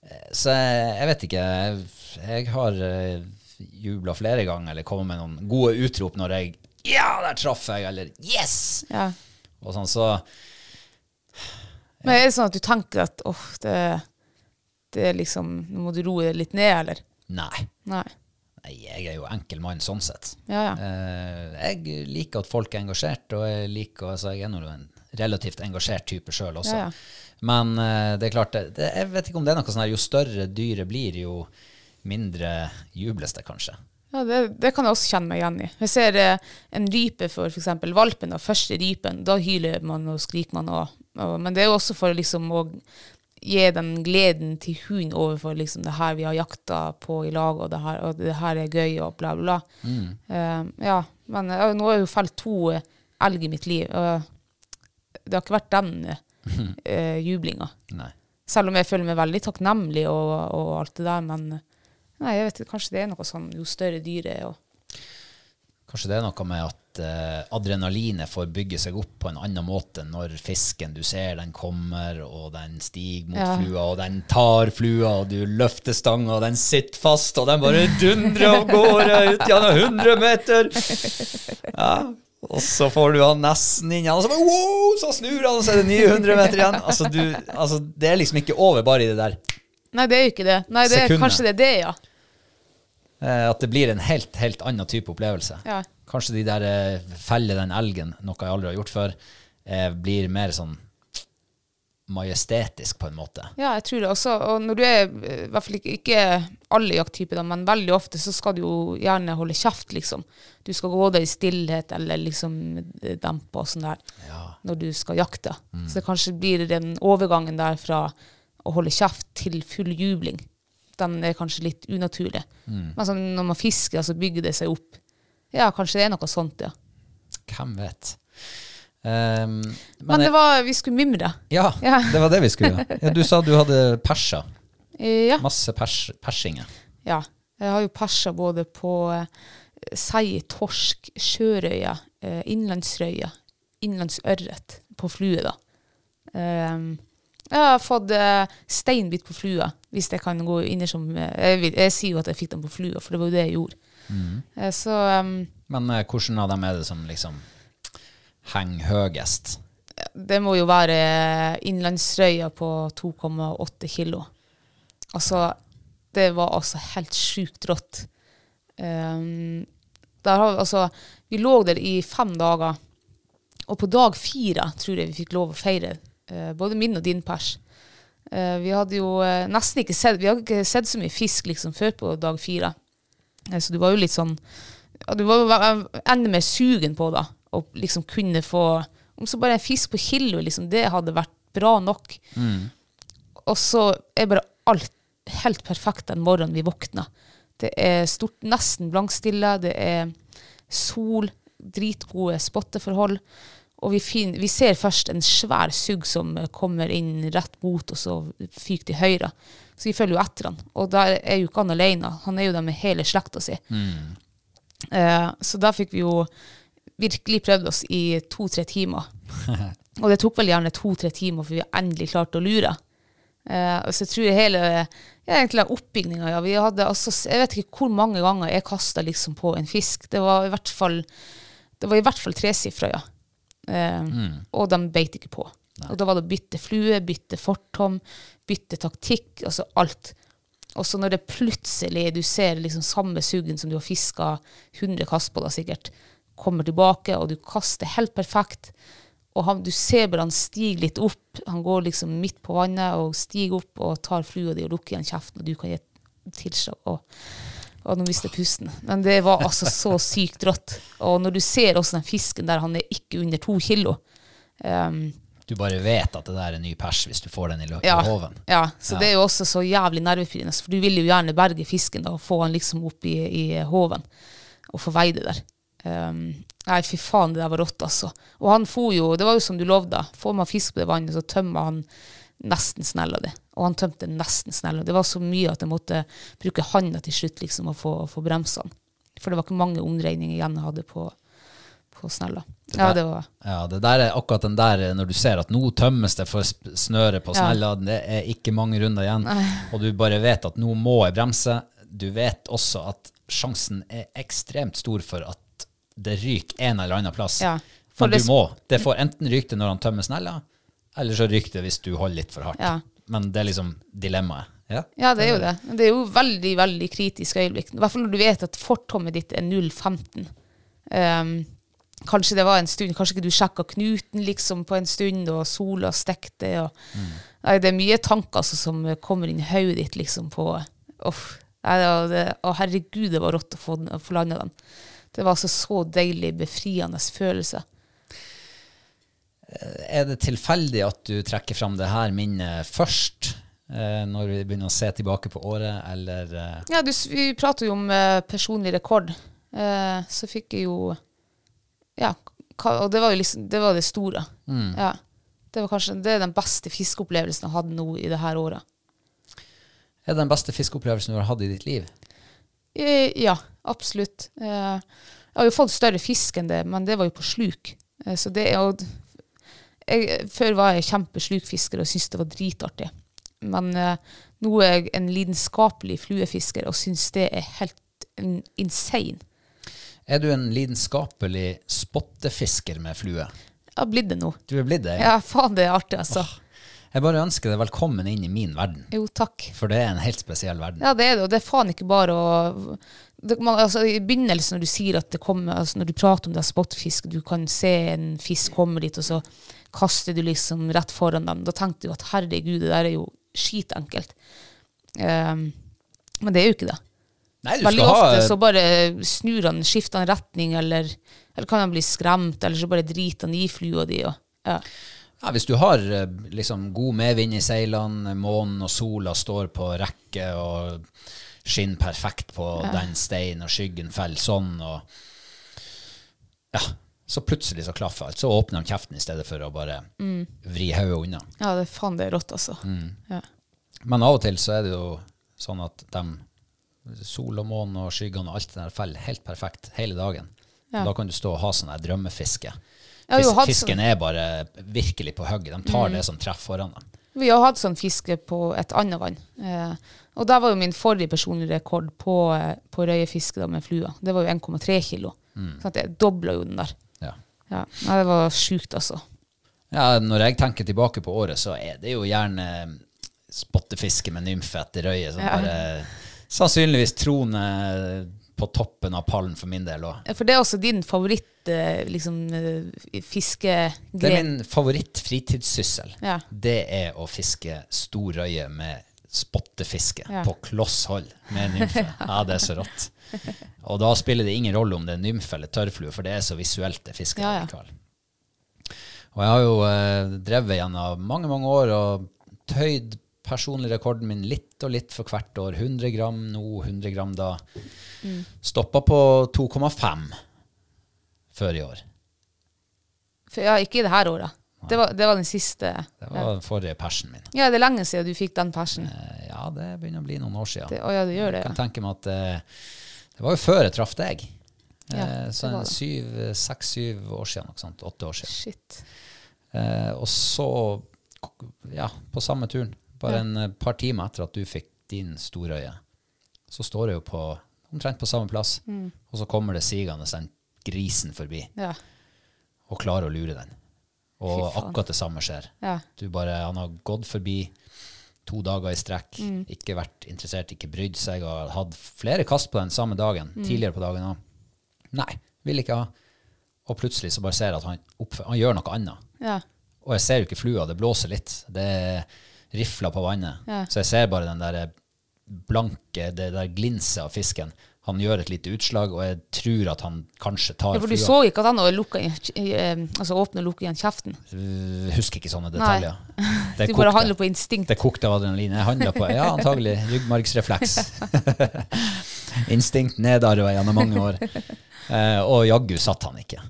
Eh, Så jeg, jeg vet ikke, jeg, jeg har uh, jubla flere ganger, eller kommet med noen gode utrop når jeg ja, der traff jeg, eller yes! Ja. Og sånn, så... Men er det sånn at du tenker at åh, det, det er liksom Nå må du roe deg litt ned, eller? Nei. Nei. Nei, jeg er jo enkel mann sånn sett. Ja, ja. Eh, jeg liker at folk er engasjert, og jeg liker, altså jeg er nå en relativt engasjert type sjøl også. Ja, ja. Men eh, det er klart, det, det, jeg vet ikke om det er noe sånn her, jo større dyret blir, jo mindre jubles det kanskje. Ja, det, det kan jeg også kjenne meg igjen i. Jeg ser eh, en rype for f.eks. valpen, da, første rypen, da hyler man og skriker man òg. Men det er jo også for liksom å gi den gleden til hunden overfor liksom, det her vi har jakta på i lag, og det her, og det her er gøy, og bla, bla. bla. Eh, ja, men eh, nå har jeg jo felt to eh, elg i mitt liv, og det har ikke vært den eh, eh, jublinga. Nei. Selv om jeg føler meg veldig takknemlig og, og alt det der, men nei, jeg vet ikke, kanskje det er noe sånn jo større dyr er, og Kanskje det er noe med at eh, adrenalinet får bygge seg opp på en annen måte når fisken du ser, den kommer, og den stiger mot Ja. flua, og den tar flua, og du løfter stanga, og den sitter fast, og den bare dundrer av gårde ut gjennom 100 meter. Ja, Og så får du han nesten inn, og så, bare, wow, så snur han, og så er det nye 100 meter igjen. Altså, du, altså, det er liksom ikke over bare i det der. Nei, det er jo ikke det. Nei, det er, Sekundet. kanskje det er det, ja. Eh, at det blir en helt, helt annen type opplevelse. Ja. Kanskje de der eh, feller den elgen, noe jeg aldri har gjort før, eh, blir mer sånn majestetisk på en måte. Ja, jeg tror det også. Og når du er, eh, i hvert fall ikke, ikke alle jakttyper, da, men veldig ofte, så skal du jo gjerne holde kjeft, liksom. Du skal gå der i stillhet eller liksom eh, dempe og sånn der når du skal jakte. Så det kanskje blir den overgangen der fra å holde kjeft til full jubling. Den er kanskje litt unaturlig. Men sånn, når man fisker, så bygger det seg opp. Ja, kanskje det er noe sånt, ja. Hvem vet? Um, men Men jeg- det var, vi skulle mimre. ja, Ja. det var det vi skulle. gjøre. Ja, du sa du hadde perser. Eh, Ja. Masse pers, persinger. Ja. Jeg har jo persa både på eh, sei, torsk, sjørøye, eh, innlandsrøye, innlandsørret på flue, da. Ehm, jeg har fått eh, steinbit på flua, hvis jeg kan gå inn i som eh, jeg, vil, jeg sier jo at jeg fikk den på flua, for det var jo det jeg gjorde. Eh, så ehm, Men eh, hvordan av dem er det som liksom henger høyest? det må jo være innlandsrøya på 2,8 kilo. Altså, det var altså helt sjukt rått. Ehm, der har vi, altså, vi lå der i fem dager, og på dag fire tror jeg vi fikk lov å feire eh, både min og din pers. Eh, vi hadde jo eh, nesten ikke sett, vi hadde ikke sett så mye fisk liksom, før på dag fire. Eh, så du var jo litt sånn ja, Du var jo ve- enda mer sugen på da, å liksom kunne få Om så bare en fisk på kilo, liksom, det hadde vært bra nok. Og så er bare alt helt perfekt den morgenen vi våkner. Det er stort, nesten blankstille, det er sol, dritgode spotteforhold. Og vi, fin, vi ser først en svær sugg som kommer inn rett mot oss og fyker til høyre. Så vi følger jo etter han. Og der er jo ikke han alene, han er jo der med hele slekta si. Eh, så da fikk vi jo virkelig prøvd oss i to-tre timer. Og det tok vel gjerne to-tre timer før vi endelig klarte å lure. Eh, og så tror jeg hele ja, egentlig oppbygninga ja, Vi hadde altså s- Jeg vet ikke hvor mange ganger jeg kasta liksom på en fisk. Det var i hvert fall Det var i hvert fall tresifra, ja. Eh, Og de beit ikke på. Og da var det å bytte flue, bytte fortom, bytte taktikk, altså alt. Og så når det plutselig du ser liksom samme sugen som du har fiska 100 kast på, da sikkert, kommer tilbake, og du kaster helt perfekt. Og han, du ser bare han stiger litt opp. Han går liksom midt på vannet og stiger opp og tar flua di og lukker igjen kjeften, og du kan gi et tilslag. Og, og nå mister jeg pusten. Men det var altså så sykt rått. Og når du ser også den fisken der, han er ikke under to kilo. Um, Du bare vet at det der er ny pers hvis du får den i, lo- ja, i hoven. ja, så Ja. det er jo også så jævlig nervepirrende, for du vil jo gjerne berge fisken da, og få han liksom opp i, i hoven og få veie det der. Ehm, nei, fy faen, det der var rått, altså. Og han for jo, det var jo som du lovde, får man fisk på det vannet, så tømmer han nesten snella di. Og han tømte nesten snella. Det var så mye at jeg måtte bruke handa til slutt liksom, og få, få bremsa han. For det var ikke mange omdreininger igjen jeg hadde på, på snella. Ja, der- det var Ja, det der er akkurat den der eh, når du ser at nå tømmes det for sp- snøret på Ja. snella, det er ikke mange runder igjen, og du bare vet at nå må jeg bremse. Du vet også at sjansen er ekstremt stor for at det ryker en eller annen plass. Ja, for For Men det- du må. Det får enten ryke det når han tømmer snella, eller så ryker det hvis du holder litt for hardt. Ja. Men det er liksom dilemmaet. Ja. Ja, det er jo det. Men det er jo veldig, veldig kritisk øyeblikk. I hvert fall når du vet at fortommet ditt er 0,15. Ehm, kanskje det var en stund, kanskje ikke du sjekka knuten liksom på en stund, og sola stekte. Og, nei, det er mye tanker altså, som kommer inn i hodet ditt liksom på Uff. Nei, det var- det- Å, herregud, det var rått å få, den- å få landa den. Det var altså så deilig, befriende følelse. Er det tilfeldig at du trekker fram det her minnet først, eh, når vi begynner å se tilbake på året, eller eh, Ja, du, s- vi prater jo om eh, personlig rekord. Eh, så fikk jeg jo Ja, ka- og det var jo liksom Det var det store. Ja. Det var kanskje det er den beste fiskeopplevelsen jeg hadde nå i det her året. Er det den beste fiskeopplevelsen du har hatt i ditt liv? Eh, ja, absolutt. Eh, jeg har jo fått større fisk enn det, men det var jo på sluk. Eh, så det er jo jeg, Før var jeg kjempeslukfisker og syntes det var dritartig. Men eh, nå er jeg en lidenskapelig fluefisker og syns det er helt mm, insane. Er du en lidenskapelig spottefisker med flue? Jeg har blitt det nå. Du er blitt det? Ja, faen, det er artig, altså. Jeg bare ønsker deg velkommen inn i min verden, Jo, takk. for det er en helt spesiell verden. Ja, det er det, og det er faen ikke bare å det, man, altså, I begynnelsen, når du sier at det kommer altså, Når du prater om det er spotfisk, du kan se en fisk komme dit, og så kaster du liksom rett foran dem, da tenkte du at herregud, det der er jo skitenkelt. Ehm, men det er jo ikke det. Nei, du Veldig skal ha ofte så bare snur han, skifter han retning, eller, eller kan han bli skremt, eller så bare driter han i flua di. Og, ja. ja, Hvis du har eh, liksom, god medvind i seilene, månen og sola står på rekke og skinner perfekt på den steinen, og skyggen faller sånn, og ja, så plutselig så klaffer alt. Så åpner de kjeften i stedet for å bare Mm. vri hodet unna. ja, det faen, det er rått, altså. Mm. Ja. Men av og til så er det jo sånn at de sol og måne og skyggene og alt det der faller helt perfekt hele dagen. Ja. Da kan du stå og ha sånn der drømmefiske. Jeg har jo Fis- hatt sånn. Mm. Fisken er bare virkelig på hugget. De tar det som treffer foran dem. Vi har hatt sånn fiske på et annet vann. Eh, og der var jo min forrige personlige rekord på, eh, på røyefiske da med flua. Det var jo 1,3 kilo. Mm. Sånn at jeg dobla jo den der. Ja. Ja. Nei, det var sjukt, altså. ja, når jeg tenker tilbake på året, så er det jo gjerne eh, spottefiske med nymfe etter røye. Som Ja. bare sannsynligvis troner på toppen av pallen for min del òg. Eh, For det er også din favoritt eh, liksom, eh, Det er fiskegren. min favoritt-fritidssyssel. Ja. Det er å fiske stor røye med spottefiske Ja. på kloss hold med nymfe. Ja, det er så rått. Og da spiller det ingen rolle om det er nymfe eller tørrflue, for det er så visuelt det fisket Ja, ja. likevel. Og jeg har jo eh, drevet gjennom mange, mange år og tøyd personlig rekorden min litt og litt for hvert år. 100 gram nå, 100 gram da. Mm. Stoppa på 2,5 før i år. For, ja, ikke i det her året. Det var, det var den siste. Det var den forrige persen min. Ja, det er lenge siden du fikk den persen. Eh, Ja, det begynner å bli noen år siden. Det, å, ja, det gjør det, Jeg kan ja. tenke meg at eh, det var jo før jeg traff deg. Eh, Ja, det så var en det. syv, seks-syv år siden, noe sånt. Åtte år siden. Shit. Eh, og så, ja, på samme turen, bare en eh, par timer etter at du fikk din storøye, så står jeg jo på, omtrent på samme plass, Mm. og så kommer det sigende den grisen forbi, Ja. og klarer å lure den. Og Fy faen. akkurat det samme skjer. Ja. Du bare, han har gått forbi to dager i strekk, Mm. ikke vært interessert, ikke brydd seg, og hatt flere kast på den samme dagen, Mm. tidligere på dagen også. Nei, vil ikke ha. Og plutselig så bare ser jeg at han, oppfø- han gjør noe annet. Ja. Og jeg ser jo ikke flua, det blåser litt. Det er rifler på vannet. Ja. Så jeg ser bare den der blanke, det der glinset av fisken. Han gjør et lite utslag, og jeg tror at han kanskje tar ja, for du flua. så ikke at han hadde lukket igjen- eh, altså, åpnet og lukket igjen kjeften. Øh, Husker ikke sånne detaljer. Det Du bare kokte. handler på instinkt. Det kokte av adrenalin. Jeg handla på ja, antagelig ryggmargsrefleks. Instinkt nedarva gjennom mange år. Eh, og jaggu satt han ikke.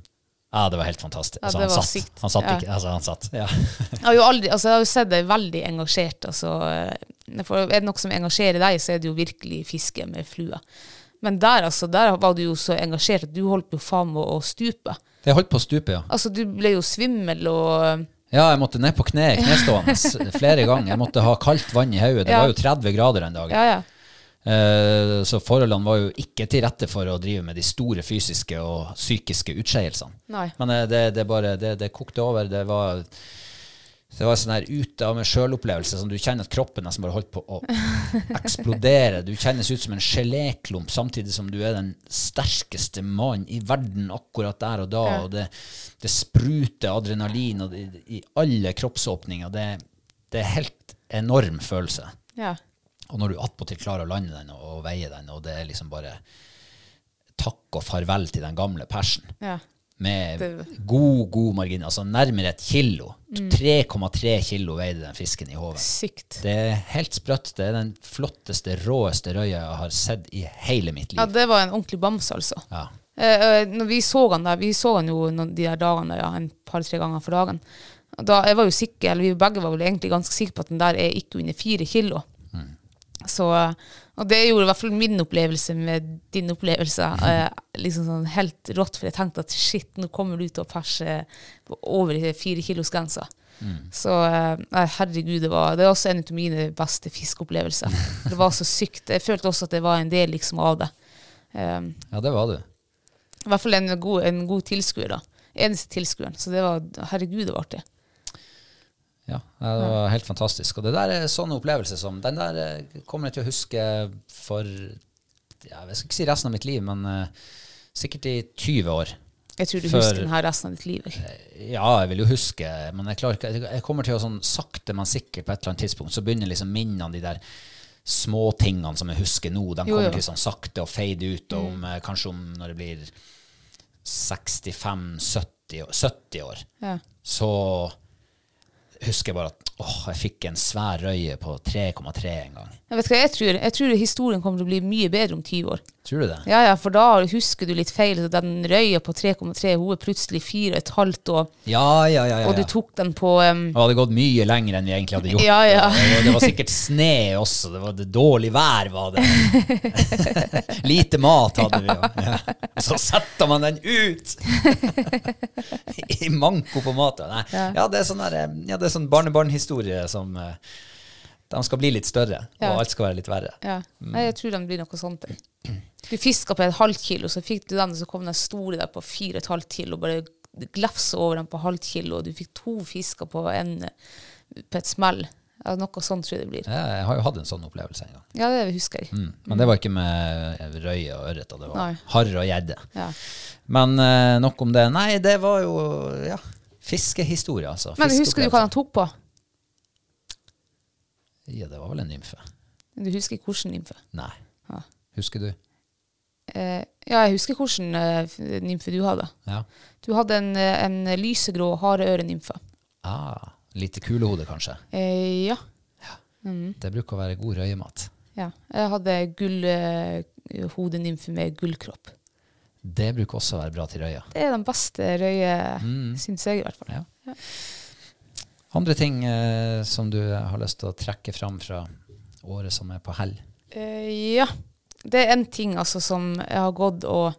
Ja, det var helt fantastisk. Ja, Altså, det han, var satt. sykt. han satt Ja. ikke. Altså, han satt. Ja. Jeg har jo aldri, altså jeg har jo sett deg veldig engasjert. Altså, eh, for er det noe som engasjerer deg, så er det jo virkelig fiske med flua. Men der altså, der var du jo så engasjert at du holdt jo faen med å stupe. Det holdt på å stupe, ja. Altså, du ble jo svimmel og Ja, jeg måtte ned på kne, knestående s- flere ganger. Jeg måtte ha kaldt vann i hodet. Det Ja. var jo 30 grader den dagen. Ja, ja. Eh, så forholdene var jo ikke til rette for å drive med de store fysiske og psykiske utskeielsene. Nei. Men eh, det, det bare det, det kokte over. Det var det var en sånn her ute av meg sjøl-opplevelse som du kjenner at kroppen nesten bare holdt på å eksplodere. Du kjennes ut som en geléklump samtidig som du er den sterkeste mannen i verden akkurat der og da. Og det, det spruter adrenalin og det, i alle kroppsåpninger. Det, det er helt enorm følelse. Ja. Og når du attpåtil klarer å lande den og, og veie den, og det er liksom bare takk og farvel til den gamle persen ja. med Det- Mm. god, god margin, altså nærmere et kilo. 3,3 kilo veide den fisken i hoven. Sykt. Det er helt sprøtt. Det er den flotteste, råeste røya jeg har sett i hele mitt Ja, liv. det var en ordentlig bamse, altså. Ja. Eh, eh, når vi så han der, vi så han jo noen, de der dagene ja, en par-tre ganger for dagen. Og Da, jeg var jo sikker, eller vi begge var vel egentlig ganske sikre på at den der er ikke under fire kilo. Så, eh, og det gjorde i hvert fall min opplevelse med din opplevelse eh, liksom sånn helt rått, for jeg tenkte at shit, nå kommer du til å perse på over firekilosgrensa. Så eh, nei, herregud, det var Det er også en av mine beste fiskeopplevelser. Det var så sykt. Jeg følte også at det var en del liksom, av det. Eh, ja, det var du. I hvert fall en god, en god tilskuer, da. Eneste tilskueren. Så det var Herregud, det var artig. Ja, nei, det var helt fantastisk. Og det der er sånne opplevelser som Den der eh, kommer jeg til å huske for ja, Jeg skal ikke si resten av mitt liv, men eh, sikkert i 20 år. Jeg tror du For- husker den her resten av ditt liv. jeg. Ja, jeg vil jo huske, men jeg, klarer ikke, jeg kommer til å sånn sakte, men sikkert på et eller annet tidspunkt, så begynner liksom minnene, de der små tingene som jeg husker nå, de Jo, kommer jo. Mm. til sånn sakte og fade ut, og om, eh, kanskje om når det blir 65-70 år, 70 år, Ja. så husker jeg bare at, åh, jeg fikk en svær røye på 3,3 en gang. Jeg vet hva jeg tror? Jeg tror historien kommer til å bli mye bedre om 20 år. Tror du det? Ja, ja, for da husker du litt feil. Så den røya på 3,3, hun er plutselig 4,5, og, Ja, ja, ja, ja. og du ja. tok den på em, Og det hadde gått mye lenger enn vi egentlig hadde gjort. Ja, ja. Og det var sikkert sne også. Det var det dårlig vær, var det. Lite mat hadde vi. Ja. Og Så setter man den ut! I manko på mat. ja. Nei. Ja, det er sånn, der, eh, ja, det er sånn barnebarnhistorie som eh, De skal bli litt større, Ja. og alt skal være litt verre. Ja. Nei, jeg tror den blir noe sånt. jeg. Du fiska på et halvt kilo, så fikk du den, og så kom den store der på 4,5 kilo, og bare glefsa over den på halvt kilo, og du fikk to fisker på, en, på et smell. Ja, noe sånt tror jeg det blir. Jeg har jo hatt en sånn opplevelse en gang. Ja, det husker jeg. Mm. Men det var ikke med røye og ørret, og det Nei. var harre og gjedde. Ja. Men eh, nok om det. Nei, det var jo ja, fiskehistorie, altså. Men husker du hva han tok på? Ja, det var vel en nymfe. Du husker hvordan nymfe? Nei. Ja. Husker du? Eh, ja, jeg husker hvordan eh, f- nymfe du hadde. Ja. Du hadde en, eh, en lysegrå hareørenymfe. Ah, lite kulehode, kanskje. Eh, ja. Mm, Det bruker å være god røyemat. ja. Jeg hadde gullhodenymfe med gullkropp. Det bruker også å være bra til røya. Det er den beste røye, Mm. syns jeg i hvert fall. Ja. Andre ting eh, som du har lyst til å trekke fram fra året som er på hell? Eh, ja. Det er en ting altså, som jeg har gått og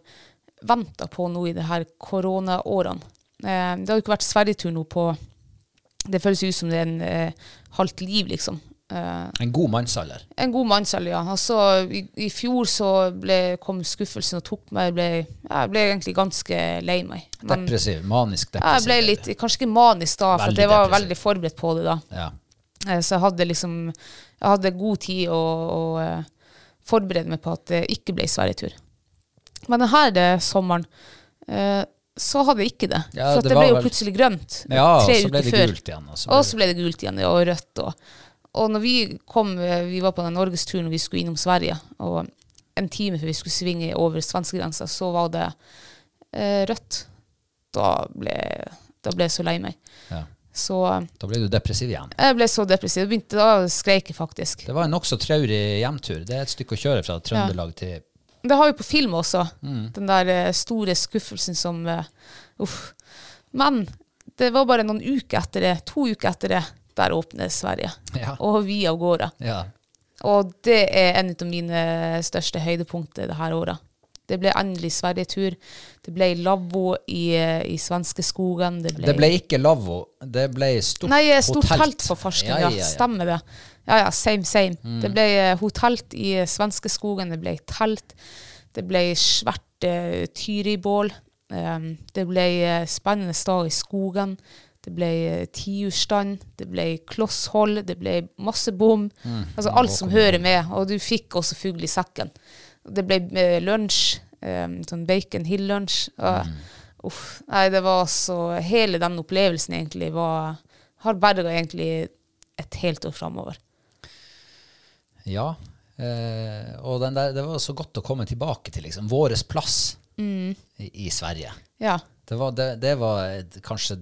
venta på nå i det her koronaårene. Eh, det har jo ikke vært sverigetur nå på Det føles ut som det er en eh, halvt liv, liksom. Eh, En god mannsalder. En god mannsalder, ja. Altså, i, I fjor så ble, kom skuffelsen og tok meg. Jeg ble, ja, jeg ble egentlig ganske lei meg. Men, ja, Depressiv. Manisk jeg depressiv. ble litt, kanskje ikke manisk da, for Veldig at jeg var depressiv. veldig forberedt på det da. Ja. Eh, Så jeg hadde liksom jeg hadde god tid å, å eh, forberede meg på at det ikke ble sverigetur. Men denne sommeren eh, så hadde jeg ikke det. Ja, for at det det, ble var jo vel- plutselig grønt ja, og tre så ble uker det før. gult igjen. Og så Og ble det så ble det gult igjen, ja, og rødt. Og, og når vi kom, eh, vi var på den norgesturen og vi skulle innom Sverige, og en time før vi skulle svinge over svenskegrensa, så var det eh, rødt. Da ble, da ble jeg så lei meg. ja. Så eh, Da ble du depressiv igjen. jeg ble så depressiv. Jeg Begynte, da skreik jeg faktisk. Det var en nokså traurig hjemtur. Det er et stykke å kjøre fra Trøndelag til Det har vi på film også, den der eh, store skuffelsen som eh, Uff. Men det var bare noen uker etter det, to uker etter det, der åpner Sverige. Ja. Og vi av gårde. Ja. Og det er en av mine største høydepunkter det her året. Det ble endelig Sverige-tur. Det ble lavvo i, eh, i svenskeskogen. Det ble, Det ble ikke lavvo, det ble stort Nei, stort hotelt. telt for farsken. Ja, Ja, ja, ja. stemmer det. Ja, ja, same, same. Det ble eh, hotelt i eh, svenskeskogen, det ble telt, det ble svært uh, tyribål, um, det ble eh, spennende stad i skogen, det ble uh, tiurstand, det ble klosshold, det ble masse bom. Altså alt som hører med, og du fikk også fugl i sekken. Det ble eh, lunsj, um, sånn bacon hill-lunsj. og- Uff, nei, det var så Hele den opplevelsen egentlig var Har berga egentlig et helt år framover. Ja. Eh, og den der, det var så godt å komme tilbake til liksom, våres plass Mm. i, i Sverige. Ja. Det var, det, det var et- kanskje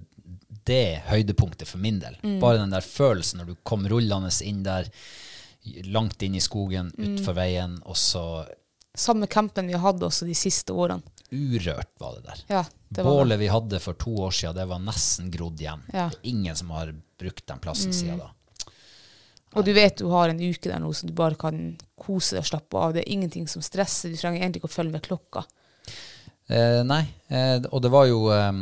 det høydepunktet for min del. Mm. Bare den der følelsen når du kom rullende inn der, langt inn i skogen, Mm. utfor veien, og så Samme campen vi hadde også de siste årene. urørt var det der. Ja, det var Bålet vi hadde for to år siden, det var nesten grodd igjen. Ja. Mm. Det er ingen som har brukt den plassen siden da. Og du vet du har en uke der nå som du bare kan kose deg og slappe av. Det er ingenting som stresser. Du trenger egentlig ikke å følge med klokka. Eh, nei, eh, og det var jo eh,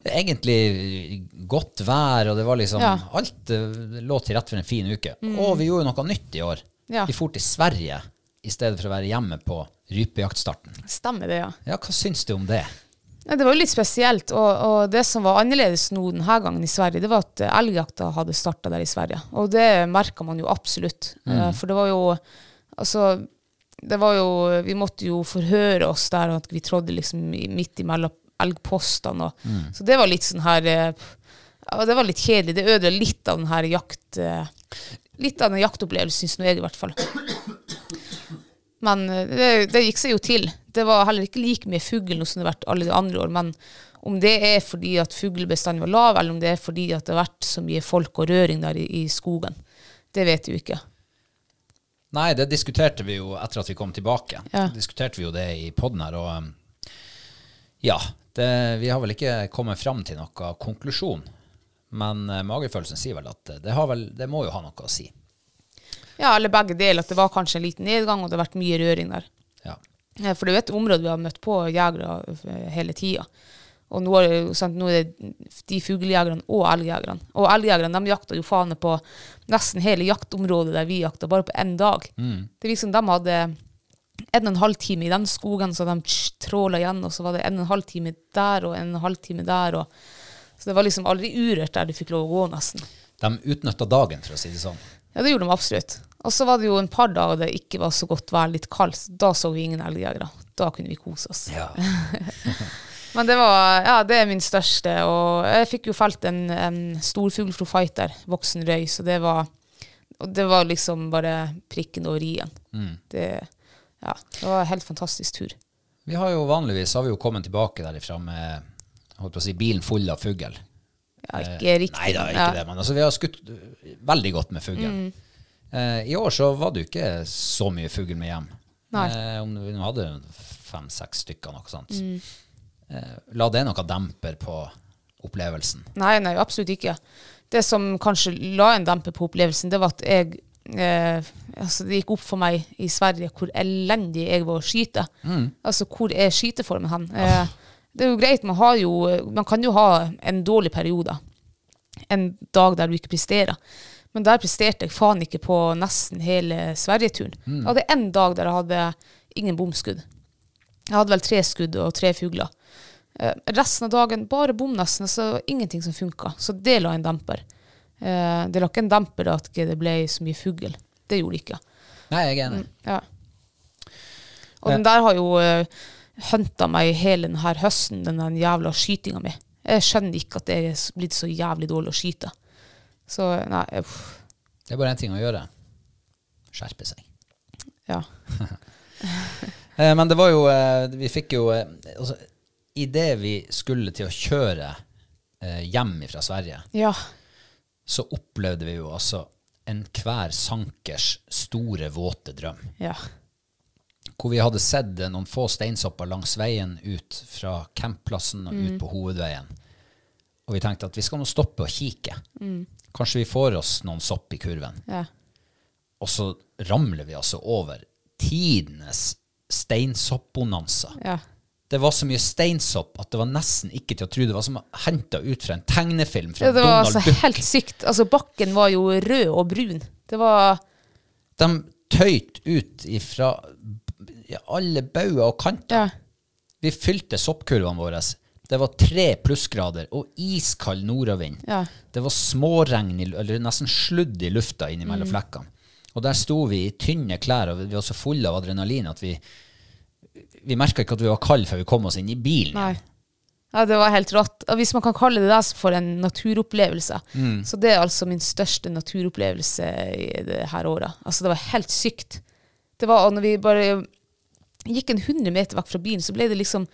egentlig godt vær, og det var liksom Ja. Mm. Alt eh, lå til rett for en fin uke. Og vi gjorde noe nytt i år. Ja. Vi for til Sverige. i stedet for å være hjemme på rypejaktstarten. Stemmer det, ja. Ja, hva syns du om det? Nei, det var jo litt spesielt, og, og det som var annerledes nå denne gangen i Sverige, det var at eh, elgjakta hadde starta der i Sverige. Og det merka man jo absolutt. Eh, For det var jo Altså, det var jo Vi måtte jo forhøre oss der, og at vi trådde liksom i- midt imellom elgpostene. Og, Så det var litt sånn her eh, ja, Det var litt kjedelig. Det ødela litt av den her jakt... eh, Litt av den jaktopplevelsen, syns nå jeg, i hvert fall. Men eh, det, det gikk seg jo til. Det var heller ikke like mye fugl nå som det har vært alle de andre år. Men om det er fordi at fuglebestanden var lav, eller om det er fordi at det har vært så mye folk og røring der i, i skogen, det vet vi jo ikke. Nei, det diskuterte vi jo etter at vi kom tilbake. Ja. Det Diskuterte vi jo det i poden her, og um, ja. Det, vi har vel ikke kommet fram til noen konklusjon, men eh, magefølelsen sier vel at eh, det, har vel, det må jo ha noe å si. Ja, eller begge deler. At det var kanskje en liten nedgang, og det har vært mye røring der. Ja. Eh, For det er jo et område vi har møtt på jegere eh, hele tida. Og nå er, det jo, sant, nå er det de fuglejegerne og elgjegerne. Og elgjegerne de jakta jo faen på nesten hele jaktområdet der vi jakta, bare på én dag. Det virker som de hadde en og en halv time i den skogen, så de tråla igjen, og så var det en og en halv time der og en og en halv time der. Og, så det var liksom aldri urørt der du fikk lov å gå, nesten. De utnytta dagen, for å si det sånn. Ja, det gjorde de absolutt. Og så var det jo en par dager det ikke var så godt vær, litt kaldt. Da så vi ingen elgjegere. Da kunne vi kose oss. Ja. Men det var, ja, det er min største. Og jeg fikk jo felt en, en storfugl fra Fighter, voksen røy, så det var, og det var liksom bare prikken over i-en. Mm. Det, ja, det var en helt fantastisk tur. Vi har jo vanligvis har vi jo kommet tilbake derifra med holdt på å si, bilen full av fugl. Ja, ikke riktig. Eh, Nei da, ikke ja. Mm. det, men altså, vi har skutt øh, veldig godt med fugl. Eh, I år så var det jo ikke så mye fugl med hjem. Nei. Eh, om vi nå hadde fem-seks stykker, noe sånt. Mm. Eh, la det noe demper på opplevelsen. Nei, nei, absolutt ikke. Det som kanskje la en dempe på opplevelsen, det var at jeg eh, altså Det gikk opp for meg i Sverige hvor elendig jeg var å skyte. Altså, hvor er skyteformen hen? Eh, det er jo greit, man, har jo, man kan jo ha en dårlig periode. En dag der du ikke presterer. Men der presterte jeg faen ikke på nesten hele Sverigeturen. Jeg hadde én dag der jeg hadde ingen bomskudd. Jeg hadde vel tre skudd og tre fugler. Eh, resten av dagen bare bom nesten, altså ingenting som funka. Så det la en demper. Eh, det la ikke en demper da at ikke det ble så mye fugl. Det gjorde det ikke. Nei, jeg er enig. Ja. Og den der har jo uh, hunta meg hele denne høsten, den der jævla skytinga mi. Jeg skjønner ikke at jeg er s- blitt så jævlig dårlig å skyte. Så nei, uff. Det er bare én ting å gjøre. Skjerpe seg. Ja. Eh, men det var jo eh, Vi fikk jo eh, altså, Idet vi skulle til å kjøre eh, hjem fra Sverige, ja. så opplevde vi jo altså enhver sankers store, våte drøm. Ja. Hvor vi hadde sett eh, noen få steinsopper langs veien ut fra campplassen og ut på hovedveien. Og vi tenkte at vi skal nå stoppe og kikke. Kanskje vi får oss noen sopp i kurven. Ja. Og så ramler vi altså over tidenes steinsoppbonanza. Ja. Det var så mye steinsopp at det var nesten ikke til å tro. Det var som henta ut fra en tegnefilm fra Ja, Det var Donald altså Duck. helt sykt. Altså, bakken var jo rød og brun. Det var De tøyt ut ifra ja, alle bauger og kanter. Ja. Vi fylte soppkurvene våre. Det var tre plussgrader og iskald nordavind. Ja. Det var småregn, i lu- eller nesten sludd i lufta innimellom Mm. flekkene. Og der sto vi i tynne klær, og vi var så fulle av adrenalin at vi vi merka ikke at vi var kalde før vi kom oss inn i bilen. Nei. Ja, det var helt rått. Og hvis man kan kalle det det for en naturopplevelse, så det er altså min største naturopplevelse i det her året. Altså, det var helt sykt. Det var, og når vi bare gikk en 100 meter vekk fra bilen, så ble det liksom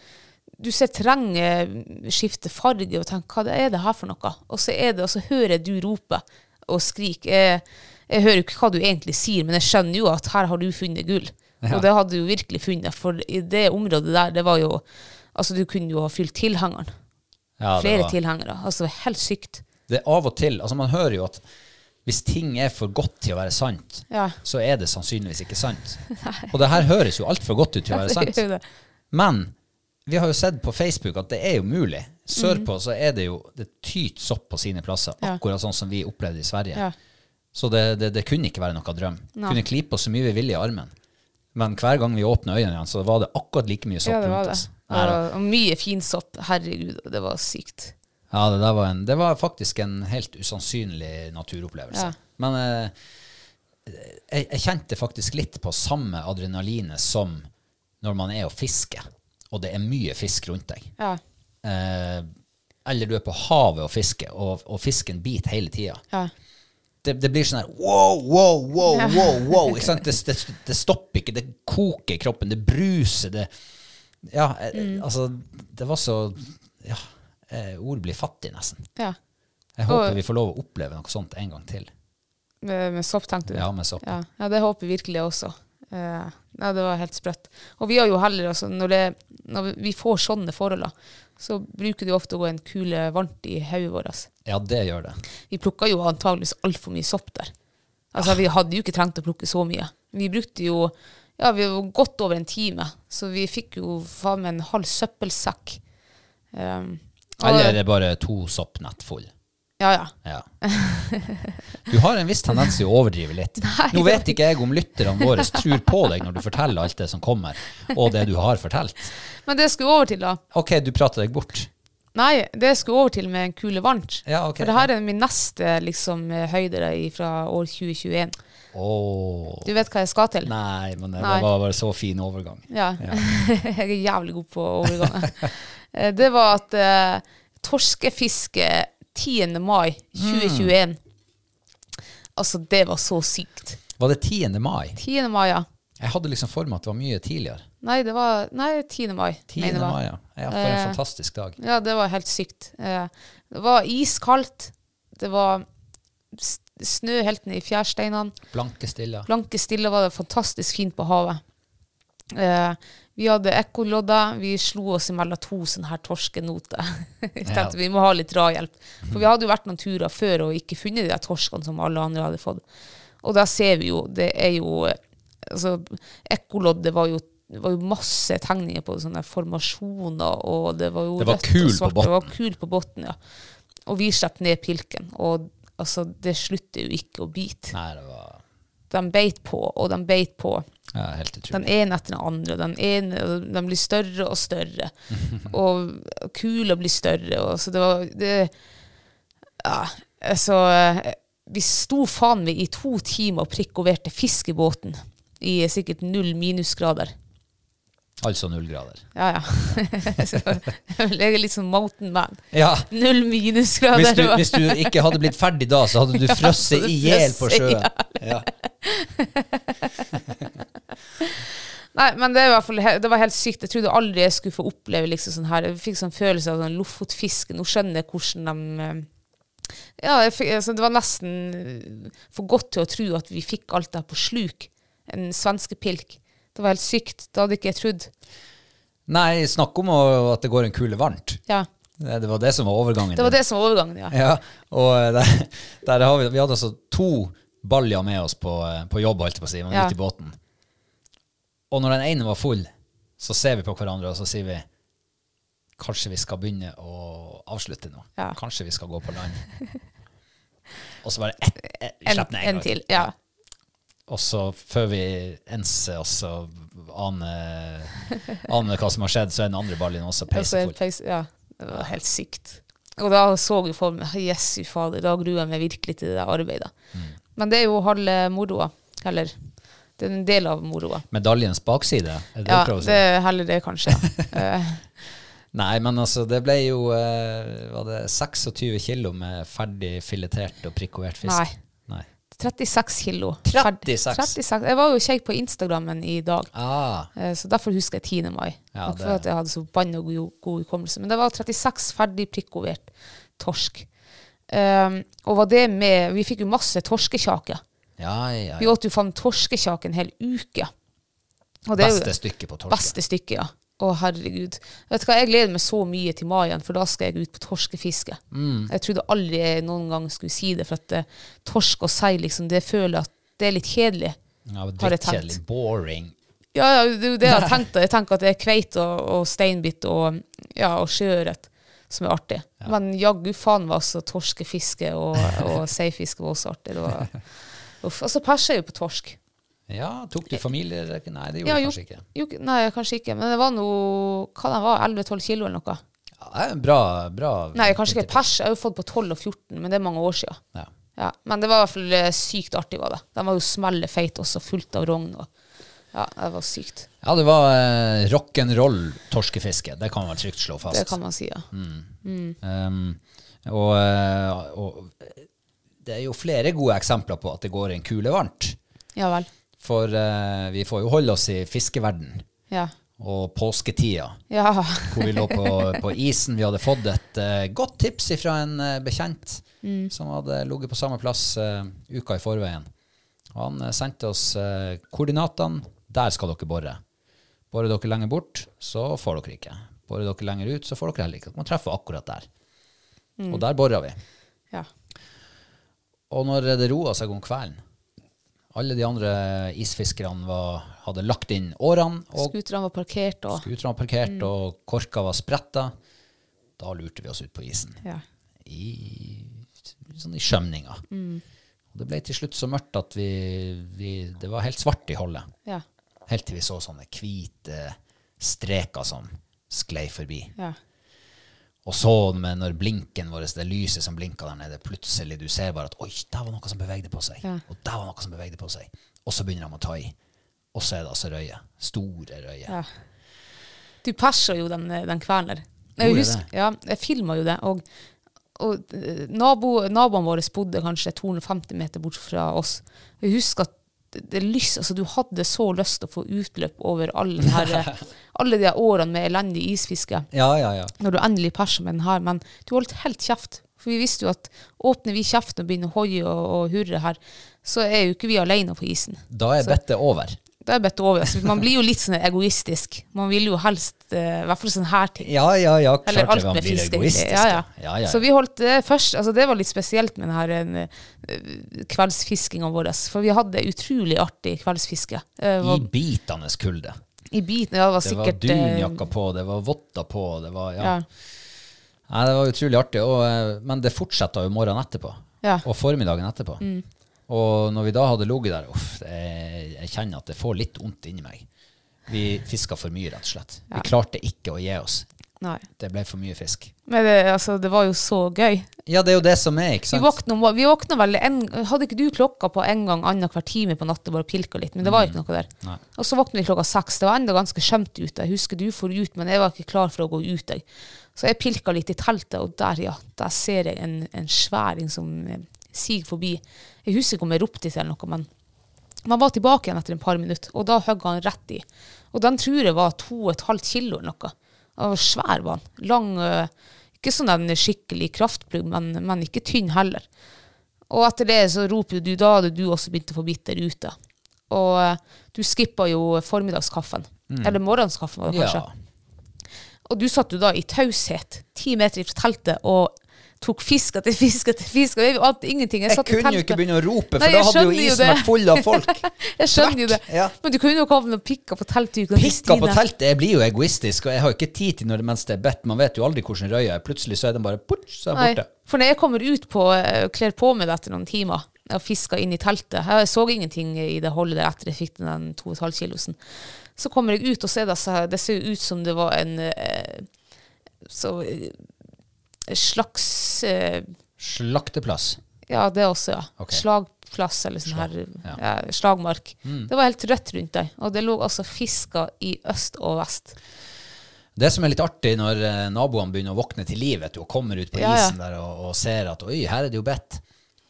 Du ser terrenget skifte farge og tenker 'hva er det her for noe?' Og så er det, og så hører jeg du rope og skrike. Jeg, jeg hører jo ikke hva du egentlig sier, men jeg skjønner jo at her har du funnet gull. Og det hadde du jo virkelig funnet, for i det området der, det var jo Altså, du kunne jo ha fylt tilhengeren. Ja, det Flere var- tilhengere. Altså, det var helt sykt. Det er av og til, altså Man hører jo at hvis ting er for godt til å være sant, Ja. så er det sannsynligvis ikke sant. Og det her høres jo altfor godt ut til å være sant. Men vi har jo sett på Facebook at det er jo mulig. Sørpå så er det jo det tyt sopp på sine plasser, Mm. Ja. akkurat sånn som vi opplevde i Sverige. Ja. Så det, det, det kunne ikke være noe drøm. Nei. Kunne klype oss så mye vi ville i armen. Men hver gang vi åpna øynene igjen, så var det akkurat like mye sopp Ja, det var rundt det. oss. Det Nei, var- Og mye fin sopp. Herregud, det var sykt. Ja, det, der var en, det var faktisk en helt usannsynlig naturopplevelse. Ja. Men eh, jeg, jeg kjente faktisk litt på samme adrenalinet som når man er og fisker, og det er mye fisk rundt deg. Ja. Eh, eller du er på havet og fisker, og, og fisken biter hele tida. Ja. Det, det blir sånn her wow, wow, wow, wow, wow. Ikke sant? Det, det, det stopper ikke, det koker i kroppen, det bruser, det Ja, eh, altså Det var så Ja, eh, ord blir fattig, nesten. ja. Jeg Og- håper vi får lov å oppleve noe sånt en gang til. Med, med sopp, tenkte du? Ja, med sopp. Ja, ja det håper jeg virkelig også. Eh, ja, det var helt sprøtt. Og vi har jo heller, altså, når, det, når vi får sånne forhold, da, så bruker det jo ofte å gå en kule varmt i hodet vårt. altså. Ja, det gjør det. Vi plukka jo antageligvis altfor mye sopp der. Ah. Altså, Vi hadde jo ikke trengt å plukke så mye. Vi brukte jo ja, vi var godt over en time, så vi fikk jo faen meg en halv søppelsekk. Um, og- Eller er det bare to soppnett full? Ja, ja. Ja. Du har en viss tendens til å overdrive litt. Nå vet ikke jeg om lytterne våre tror på deg når du forteller alt det som kommer, og det du har fortalt. Men det skulle over til, da. Ok, du prater deg bort. Nei, det skulle over til med en kule varmt. Ja, ok. For det her er min neste liksom, høyde da, i- fra år 2021. Åh. Du vet hva jeg skal til? Nei, men det Nei. var bare så fin overgang. Ja. jeg er jævlig god på overganger. Eh, det var at eh, torskefiske 10. mai Mm. 2021 Altså, det var så sykt. Var det 10. mai? 10. mai, ja. Jeg hadde liksom for meg at det var mye tidligere. Nei, det var Nei, 10. mai. 10. mener jeg. mai, ja. ja. For Eh. en fantastisk dag. Ja, det var helt sykt. Eh, Det var iskaldt. Det var s- snø helt ned i fjærsteinene. Blanke stille. Blanke stille var det fantastisk fint på havet. Eh, vi hadde ekkolodder. Vi slo oss imellom to sånne her torskenoter. Vi tenkte vi må ha litt drahjelp. For vi hadde jo vært noen turer før og ikke funnet de der torskene som alle andre hadde fått. Og da ser vi jo, det er jo eh, altså, Ekkoloddet var jo det var jo masse tegninger på sånne formasjoner, og det var jo Det var rødt og kul på svart. Det var kul på båten, ja. Og vi slapp ned pilken, og altså, det slutter jo ikke å bite Nei, det var de beit på, og de beit på. ja, helt utrolig. Den ene etter den andre. og Den ene, og de blir større og større. Og kula blir større. Og så det var det, ja, altså, eh, Vi sto faen meg i to timer og prikkoverte fisk i båten i sikkert null minusgrader. Altså null grader. Ja, ja. så, jeg er litt sånn mountain man. Ja, Null minusgrader. hvis du, det var- hvis du ikke hadde blitt ferdig da, så hadde du frosset hadde i hjel på frosset i sjøen. Ja. Nei, men det, er i hvert fall, he- det var helt sykt. Jeg trodde aldri jeg skulle få oppleve liksom sånn her. Jeg fikk sånn følelse av sånn Lofotfiske. Nå skjønner jeg hvordan de eh, Ja, jeg fikk, altså, det var nesten eh, for godt til å tro at vi fikk alt det her på sluk. En svenskepilk. Det var helt sykt. Det hadde ikke jeg trodd. Nei, snakk om å- at det går en kule varmt. Eh, Ja. Det det var det som var overgangen. Det var det som var overgangen, ja. Ja, og eh, der, der har vi, vi hadde altså to baljer med oss på, eh, på jobb, holdt jeg på å si, men Ja. ute i båten. Og når den ene var full, så ser vi på hverandre, og så sier vi Kanskje vi skal begynne å avslutte nå. Ja. Kanskje vi skal gå på land. og så bare ett, ett, En, slipp ned en en gang. til. Ja. Og så før vi enser oss og aner, aner hva som har skjedd, så er den andre baljen også Altså, en peisefull. peis, ja. Det var helt sykt. Og da så jeg for meg Jesu fader, da gruer jeg meg virkelig til det der arbeidet. Mm. Men det er jo halve moroa. Eller det er en del av moroa. Medaljens bakside, er det det Ja, du prøver å si? det er heller det, kanskje. Eh, Nei, men altså, det ble jo eh, var det 26 kilo med ferdig filetert og prikkovert fisk. Nei. Nei. 36 kilo. 36. 36. Jeg var jo kjekk på Instagrammen i dag, Ah, eh, så derfor husker jeg 10. mai. Ja, Nok det- for at jeg hadde så banna god, god hukommelse. Men det var 36 ferdig prikkovert torsk. Um, og var det med Vi fikk jo masse torskekjaker. ja, ja, Vi ja. åt jo faen torskekjake en hel uke. Og det er jo- Beste stykket på torsdag. Beste stykket, ja. Å, herregud. Vet du hva, Jeg gleder meg så mye til mai igjen, for da skal jeg ut på torskefiske. Jeg trodde aldri jeg noen gang skulle si det, for at eh, torsk og sei, liksom, det føler jeg at det er litt kjedelig. Ja, har jeg Drittkjedelig. tenkt. Boring. Ja, ja, det er jo det jeg har tenkt. da. Jeg tenker at det er kveite og, og steinbit og, ja, og sjøørret som er artig. Men jaggu faen var altså torskefiske og, og seifiske var også artig. Det var, uff. Og så perser jeg jo på torsk. Ja, tok du familierekke? Nei, det Ja, gjorde du jo- kanskje ikke. jo, nei, kanskje ikke. Men det var noe Hva den var 11-12 kilo eller noe? Ja, det er en bra, bra Nei, kanskje ikke pers. Jeg har jo fått på 12 og 14, men det er mange år siden. Ja. Ja, men det var i hvert fall eh, sykt artig, var det. Den var jo smelle feit også, fullt av rogn. Og, ja, det var sykt. Ja, det var eh, rock'n'roll torskefiske. Det kan man trygt slå fast. Det kan man si, ja. Mm. Um, og, eh, og det er jo flere gode eksempler på at det går en kule varmt. Ja vel. For eh, vi får jo holde oss i fiskeverden Ja. og påsketida. ja. Hvor vi lå på, på isen. Vi hadde fått et eh, godt tips fra en eh, bekjent som hadde ligget på samme plass eh, uka i forveien. Og han eh, sendte oss eh, koordinatene. Der skal dere bore. Borer dere lenger bort, så får dere ikke. Borer dere lenger ut, så får dere heller ikke. Dere må treffe akkurat der. Og der bora vi. ja. Og når det roa seg om kvelden Alle de andre isfiskerne var, hadde lagt inn årene, og Skuterne var parkert og skuterne var parkert, Mm. og korka var spretta. Da lurte vi oss ut på isen. ja. I, sånn i skjømninga. Mm. Og det ble til slutt så mørkt at vi, vi Det var helt svart i hullet. Ja. Helt til vi så sånne hvite streker som sklei forbi. ja. Og så med når blinken vår, det lyset som blinka der nede, plutselig du ser bare at oi, der var noe som bevegde på seg. Ja. Og der var noe som bevegde på seg. Og så begynner de å ta i. Og så er det altså røye. Store røye. ja. Du persa jo den, den kvelden der. Gjorde Jeg jeg husker, ja, jeg filma jo det. Og, og eh, nabo, naboene våre bodde kanskje 250 meter bort fra oss. Jeg husker at det- det lys, altså Du hadde så lyst til å få utløp over alle, de her, eh, alle de her årene med elendig isfiske. Ja, ja, ja. når du endelig perser med den her, men du holdt helt kjeft. For vi visste jo at åpner vi kjeften og begynner å hoie og, og hurre her, så er jo ikke vi alene på isen. Da er bettet over. Da er bedt over. Så man blir jo litt sånn egoistisk. Man vil jo helst, eh, i hvert fall sånn her ting. Ja, ja, ja. Klart Eller det alt var med blir fisk, egentlig. egoistisk, Ja, ja. ja, ja, ja. Så vi holdt det først, altså det var litt spesielt med denne kveldsfiskinga vår, altså. for vi hadde utrolig artig kveldsfiske. Eh, I var, bitende kulde. I biten, ja, det Det var var sikkert eh, dunjakka på, det var votter på, det var ja. Ja. Nei, det var utrolig artig. Og, eh, men det fortsatte jo morgenen etterpå. Ja. Mm. Og formiddagen etterpå. Og når vi da hadde ligget der Uff, det er- jeg kjenner at det får litt vondt inni meg. Vi fiska for mye, rett og slett. Vi klarte ikke å gi oss. Nei. Det ble for mye fisk. Men det, altså, det var jo så gøy. Ja, det er jo det som er, ikke Vi sant? våkna, om- vi våkna vel en, Hadde ikke du klokka på en gang annenhver time på natta bare pilka litt? Men det var ikke noe der. Mm. Nei. Og så våkna vi klokka seks. Det var enda ganske skjømt ute. Jeg husker du for ut, men jeg var ikke klar for å gå ut. Jeg. Så jeg pilka litt i teltet, og der, ja, der ser jeg en, en sværing som eh, siger forbi. Jeg husker ikke om jeg ropte til eller noe, men man var tilbake igjen etter en par minutter, og da høgg han rett i. Og den tror jeg var to og et halvt kilo eller noe. Han var svær var han. Lang, øh, ikke sånn en skikkelig kraftplugg, men, men ikke tynn heller. Og etter det så roper jo du, da hadde du også begynt å få bitt der ute. Og øh, du skippa jo formiddagskaffen. Eller morgenskaffen, var det kanskje. Ja. Og du satt jo da i taushet, ti meter fra teltet, og tok fisk etter fisk etter fisk. Og jeg ante ingenting. Jeg, Jeg satt i kunne jo ikke teltet. begynne å rope, for Nei, da jeg hadde jo skjønner jo isen det. vært full av folk. Jeg skjønner jo det. Tvert, ja. Men du kunne jo ikke havne og pikka på teltduken. til Pikka på Stine. teltet jeg blir jo egoistisk, og jeg har jo ikke tid til når det mens det er bedt. Man vet jo aldri hvordan røya er. Plutselig så er den bare putsch, så er Nei, jeg borte. For når jeg kommer ut på eh, kler på meg det etter noen timer og fisker inn i teltet Jeg så ingenting i det holdet der etter jeg fikk den 2,5 kilosen. Så kommer jeg ut, og så er det, så, det ser jo ut som det var en eh, så, eh, slags eh, Slakteplass. Ja, det også, ja. Ok. Slagplass eller sånn her ja. Mm. ja. slagmark. Det var helt rødt rundt der. Og det lå altså fisker i øst og vest. Det som er litt artig når eh, naboene begynner å våkne til liv vet du, og kommer ut på Ja, ja. isen der og, og ser at oi, her er det jo bedt,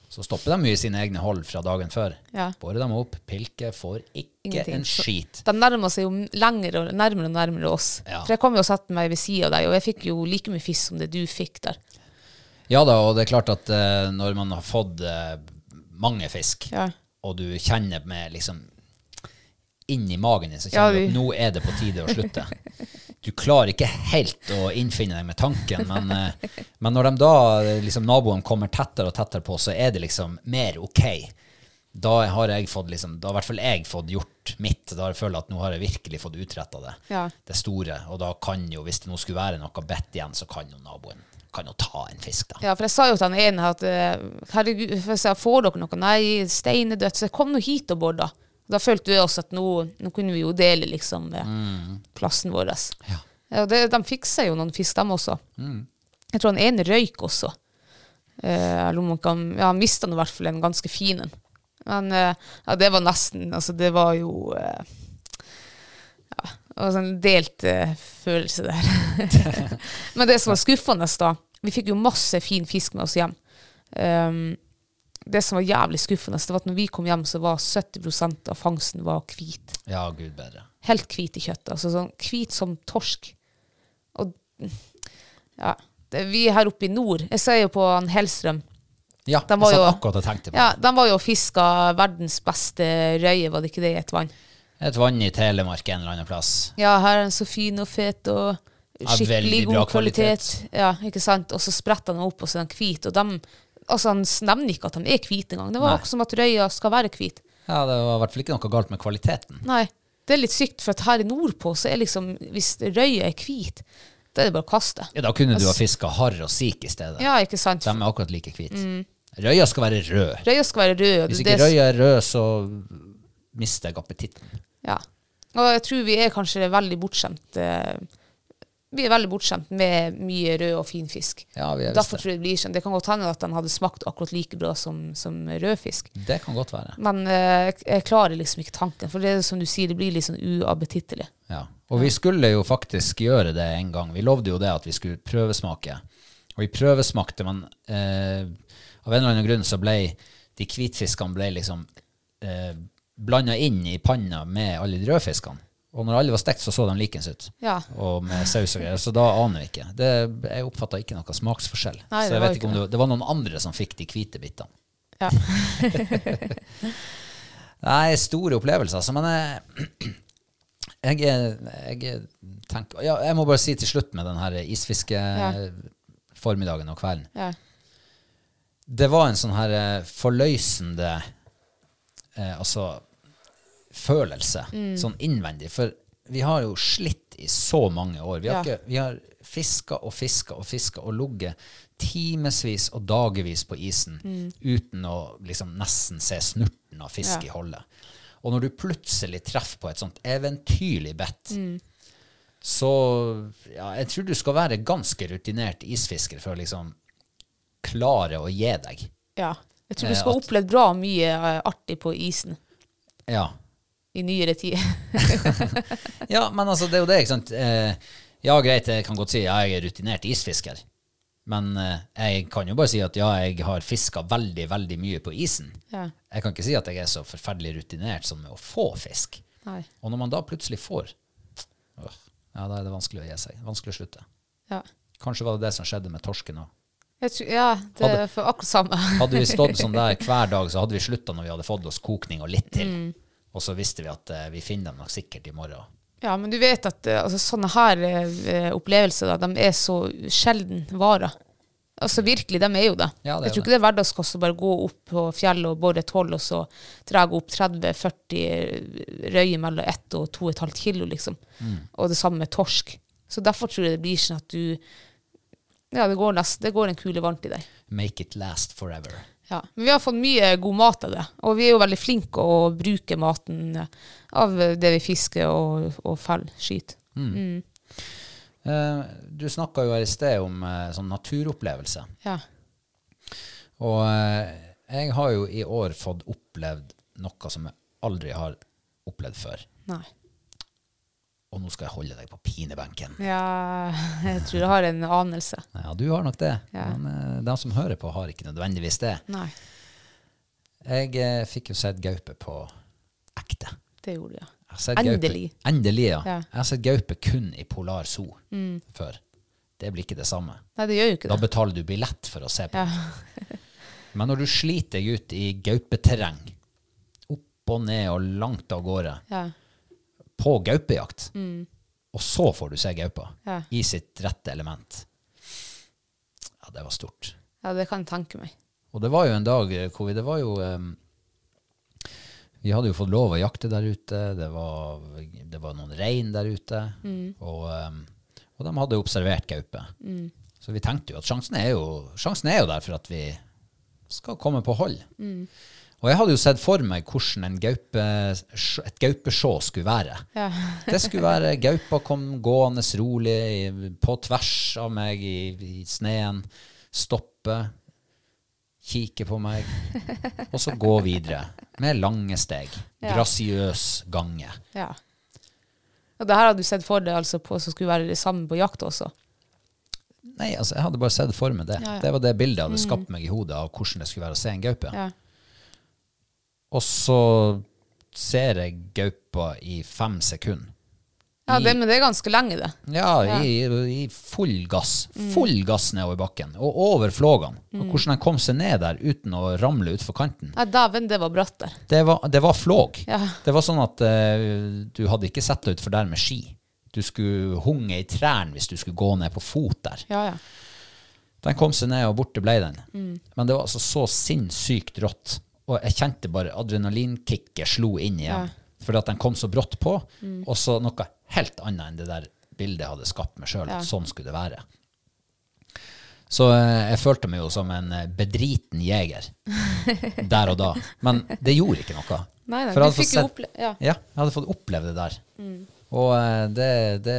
så stopper de jo i sine egne hold fra dagen før. Ja. Bårer dem opp, pilker, får ikke Ingenting. en Så- skit. De nærmer seg jo lenger og nærmere og nærmere oss. Ja. For jeg kom jo og satte meg ved sida av deg, og jeg fikk jo like mye fisk som det du fikk der. Ja da, og det er klart at eh, når man har fått eh, mange fisk, Ja. og du kjenner med liksom inni magen din, så Ja, kjenner du du- at nå er det på tide å slutte. Du klarer ikke helt å innfinne deg med tanken, men, eh, men når de da, eh, liksom naboen kommer tettere og tettere på, så er det liksom mer ok. Da har jeg fått liksom, da har i hvert fall jeg fått gjort mitt. Da føler jeg at nå har jeg virkelig fått utretta det. Ja. Det store. Og da kan jo, hvis det nå skulle være noe bedt igjen, så kan jo naboen kan jo ta en fisk, da. Ja, for jeg sa jo til han ene her at eh, herregud, for jeg sa, får dere noe? Nei, stein er dødt. Så jeg kom nå hit og bor, da. Da følte vi også at nå, nå kunne vi jo dele liksom eh, Mm. plassen vår. Ja. Ja, det, de fiksa jo noen fisk, dem også. Jeg tror han ene røyk også. Eh, eller om han kan, ja, han mista i hvert fall en ganske fin en. Men eh, ja, det var nesten Altså, det var jo eh, Ja, det var sånn delt eh, følelse der. Men det som var skuffende, da Vi fikk jo masse fin fisk med oss hjem. Ehm, det som var jævlig skuffende, det var at når vi kom hjem, så var 70 av fangsten var hvit ja, gud bedre. helt hvit i kjøttet. Altså sånn hvit som torsk. Og ja, det, vi her oppe i nord Jeg ser jo på han Hellstrøm. Ja, De jeg var satt jo- akkurat og tenkte på Ja, det. De var jo og fiska verdens beste røye, var det ikke det, i et vann? Et vann i Telemark en eller annen plass. Ja, her er den så fin og fet og skikkelig veldig bra god kvalitet. Ja, ikke sant? Og så spretter han opp, og så er han hvit. Og dem- altså, han nevner ikke at de er hvite engang. Det var Nei. akkurat som at røya skal være hvit. Ja, det var i hvert fall ikke noe galt med kvaliteten. Nei, det er litt sykt, for at her nordpå så er liksom Hvis røya er hvit, da er det bare å kaste. Ja, Da kunne du Altså- ha fiska harr og sik i stedet. Ja, ikke sant? De er akkurat like hvite. Røya skal være rød. Røya skal være rød. og Hvis det- ikke det- røya Mm. er rød, så mister jeg appetitten. Ja. Og jeg tror vi er kanskje veldig bortskjemt. eh, Vi er veldig bortskjemt med mye rød og fin fisk. Ja, vi er visst Derfor det. tror jeg det blir sånn. Det kan godt hende at de hadde smakt akkurat like bra som, som rød fisk. Det kan godt være. Men eh, jeg- jeg klarer liksom ikke tanken, for det er som du sier, det blir litt sånn uappetittelig. Ja. Og vi skulle jo faktisk gjøre det en gang. Vi lovde jo det at vi skulle prøvesmake. Og vi prøvesmakte, men eh, av en eller annen grunn så ble de hvitfiskene ble liksom eh, blanda inn i panna med alle de rødfiskene. Og når alle var stekt, så så de likens ut. Ja. Og med saus og greier. Så da aner vi ikke. Det, jeg oppfatta ikke noe smaksforskjell. Nei, så det jeg var vet ikke ikke om det, var- det var noen andre som fikk de hvite bitene. Ja. Nei, store opplevelser. Altså, men jeg, jeg, er- jeg er- tenker ja, Jeg må bare si til slutt med den her isfiskeformiddagen og kvelden. ja. Det var en sånn her eh, forløsende eh, altså, følelse, sånn innvendig. For vi har jo slitt i så mange år. Vi har, Ja. ikke- vi har fiska og fiska og fiska og ligget timevis og dagevis på isen uten å liksom nesten se snurten av fisk i holdet. Og når du plutselig treffer på et sånt eventyrlig bedt, så ja, jeg tror du skal være ganske rutinert isfisker for å liksom klare å gi deg. ja. Jeg tror Eh, du skal ha at- opplevd bra mye eh, artig på isen Ja. i nyere tid. ja, men altså, det er jo det, ikke sant. Eh, ja, greit, jeg kan godt si ja, jeg er rutinert isfisker. Men eh, jeg kan jo bare si at ja, jeg har fiska veldig, veldig mye på isen. Ja. Jeg kan ikke si at jeg er så forferdelig rutinert som med å få fisk. Nei. Og når man da plutselig får, øh, ja, da er det vanskelig å gi seg. Vanskelig å slutte. Ja. Kanskje var det det som skjedde med torsken òg. Jeg tror, ja, det er for akkurat samme. Hadde vi stått sånn der hver dag, så hadde vi slutta når vi hadde fått oss kokning og litt til. Og så visste vi at eh, vi finner dem nok sikkert i morgen. Ja, men du vet at eh, altså, sånne her eh, opplevelser, da, de er så sjelden varer. Altså virkelig, de er jo det. Ja, det er det. jeg tror ikke det er hverdagskost å bare gå opp på fjellet og bore et hull og så dra opp 30-40 røye mellom 1 og 2,5 kilo, liksom. Mm. Og det samme med torsk. Så derfor tror jeg det blir sånn at du Ja, det går, nesten, det går en kule varmt i deg. Make it last forever. Ja, men vi har fått mye god mat av det, og vi er jo veldig flinke å bruke maten eh, av det vi fisker og, Mm, og feller, skyter. Mm. Eh, du snakka jo her i sted om eh, sånn naturopplevelse. Ja. Og eh, jeg har jo i år fått opplevd noe som jeg aldri har opplevd før. Nei. Og nå skal jeg holde deg på pinebenken. Ja, jeg tror jeg har en anelse. Ja, du har nok det. Ja. Men eh, de som hører på, har ikke nødvendigvis det. Nei, Jeg eh, fikk jo sett gaupe på ekte. det gjorde jeg. Jeg har sett gaupe- Endelig. Endelig, ja. Ja. Mm. Jeg har sett gaupe kun i Polar Zoo før. Det blir ikke det samme. Nei, det gjør jo ikke Da det. betaler du billett for å se på. Ja. Men når du sliter deg ut i gaupeterreng, opp og ned og langt av gårde, Ja. på gaupejakt, og så får du se gaupa Ja. i sitt rette element Ja, det var stort. ja, det kan jeg tenke meg. Og det var jo en dag eh, hvor vi Det var jo eh, Vi hadde jo fått lov å jakte der ute. Det var, det var noen rein der ute. Og, eh, og de hadde jo observert gaupe. Så vi tenkte jo at sjansen er jo, sjansen er jo der for at vi skal komme på hold. Og jeg hadde jo sett for meg hvordan en gaupe, et gaupesjå skulle være. Ja. Det skulle være Gaupa kom gående rolig i- på tvers av meg i, i sneen, stoppe, kikke på meg, og så gå videre med lange steg. Ja. Grasiøs gange. Ja. Og det her hadde du sett for deg altså på som skulle være sammen på jakt også. Nei, altså, jeg hadde bare sett for meg det. Ja, ja. Det var det bildet jeg hadde skapt meg i hodet av hvordan det skulle være å se en gaupe. Ja. Og så ser jeg gaupa i fem sekunder. Ja, det, men det er ganske lenge, det. Ja, I, i full gass. Full gass nedover bakken, og over flågene. Og hvordan han kom seg ned der uten å ramle utfor kanten. Nei, dæven, det var bratt der. Det var, det var flåg. Ja. Det var sånn at eh, du hadde ikke sett deg utfor der med ski. Du skulle hunge i trærne hvis du skulle gå ned på fot der. Ja, ja. Den kom seg ned, og borte ble den. Mm. Men det var altså så sinnssykt rått. Og jeg kjente bare adrenalinkicket slo inn igjen. Fordi at den kom så brått på, Mm. og så noe helt annet enn det der bildet jeg hadde skapt meg sjøl. Sånn skulle det være. Så eh, jeg følte meg jo som en eh, bedriten jeger der og da. Men det gjorde ikke noe. Nei, nei, For jeg du hadde fikk fått jo sett- opple- ja. Mm. ja, jeg hadde fått oppleve det der. Og eh, det, det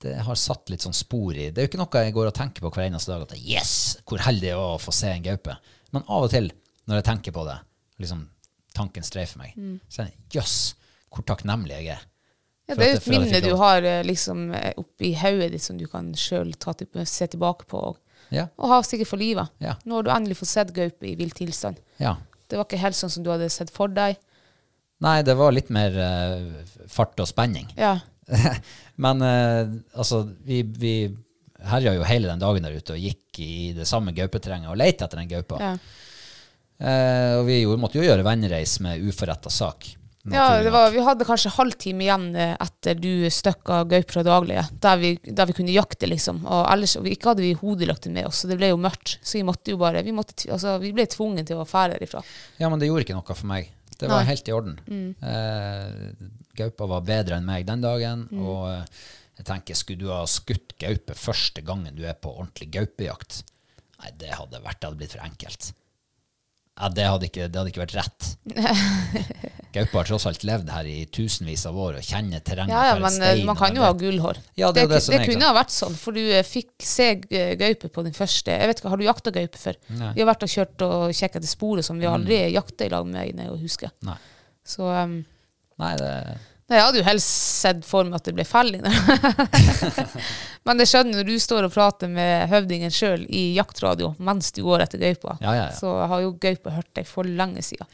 det har satt litt sånn spor i Det er jo ikke noe jeg går og tenker på hver eneste dag. At yes, hvor heldig jeg var å få se en gaupe. Men av og til, når jeg tenker på det, liksom tanken streifer meg. Så jeg, jøss, hvor takknemlig jeg er. Mm. Ja, for det at jeg- er jo et for at jeg minne fikk du lov. har eh, liksom eh, oppi hodet ditt som du kan sjøl eh, se tilbake på. Og, Ja, og ha sikkert for livet. Ja. Nå har du endelig fått sett gaupe i vill tilstand. ja. Det var ikke helt sånn som du hadde sett for deg. Nei, det var litt mer eh, fart og spenning. Ja, Men eh, altså, vi, vi herja jo hele den dagen der ute og gikk i det samme gaupeterrenget og lette etter den gaupa. ja. Eh, og vi gjorde, måtte jo gjøre vennereis med uforretta sak. ja naturlig det nok. var, vi hadde kanskje halvtime igjen eh, etter du støkka gaupe fra daglige, der vi, der vi kunne jakte, liksom. Og ellers og vi, ikke hadde vi hodelykter med oss, så det ble jo mørkt. Så vi måtte jo bare Vi, måtte, tv- altså, vi ble tvunget til å fære derifra. Ja, men det gjorde ikke noe for meg. Det var Nei. Mm. helt i orden. Eh, gaupa var bedre enn meg den dagen, Mm. og eh, jeg tenker, skulle du ha skutt gaupe første gangen du er på ordentlig gaupejakt? Nei, det hadde vært, det hadde blitt for enkelt. Ja, det hadde ikke, det hadde ikke vært rett. Gaupa har tross alt levd her i tusenvis av år og kjenner terrenget. Ja, for ja, en men eh, stein, man og kan jo det- ha gullhår. Ja, det er jo det som er, ikke kunne sant? ha vært sånn, for du eh, fikk se eh, gaupe på den første Jeg vet ikke, Har du jakta gaupe før? Nei. Mm. Vi har vært og kjørt og kjekka etter sporet som vi aldri jakta i lag med, når jeg husker. Nei. Så ehm, Nei, det... nei, jeg hadde jo helst sett for meg at det ble felling. men det skjønner når du står og prater med høvdingen sjøl i jaktradio mens du går etter gaupa, Ja, ja, ja. så har jo gaupa hørt deg for lenge sida.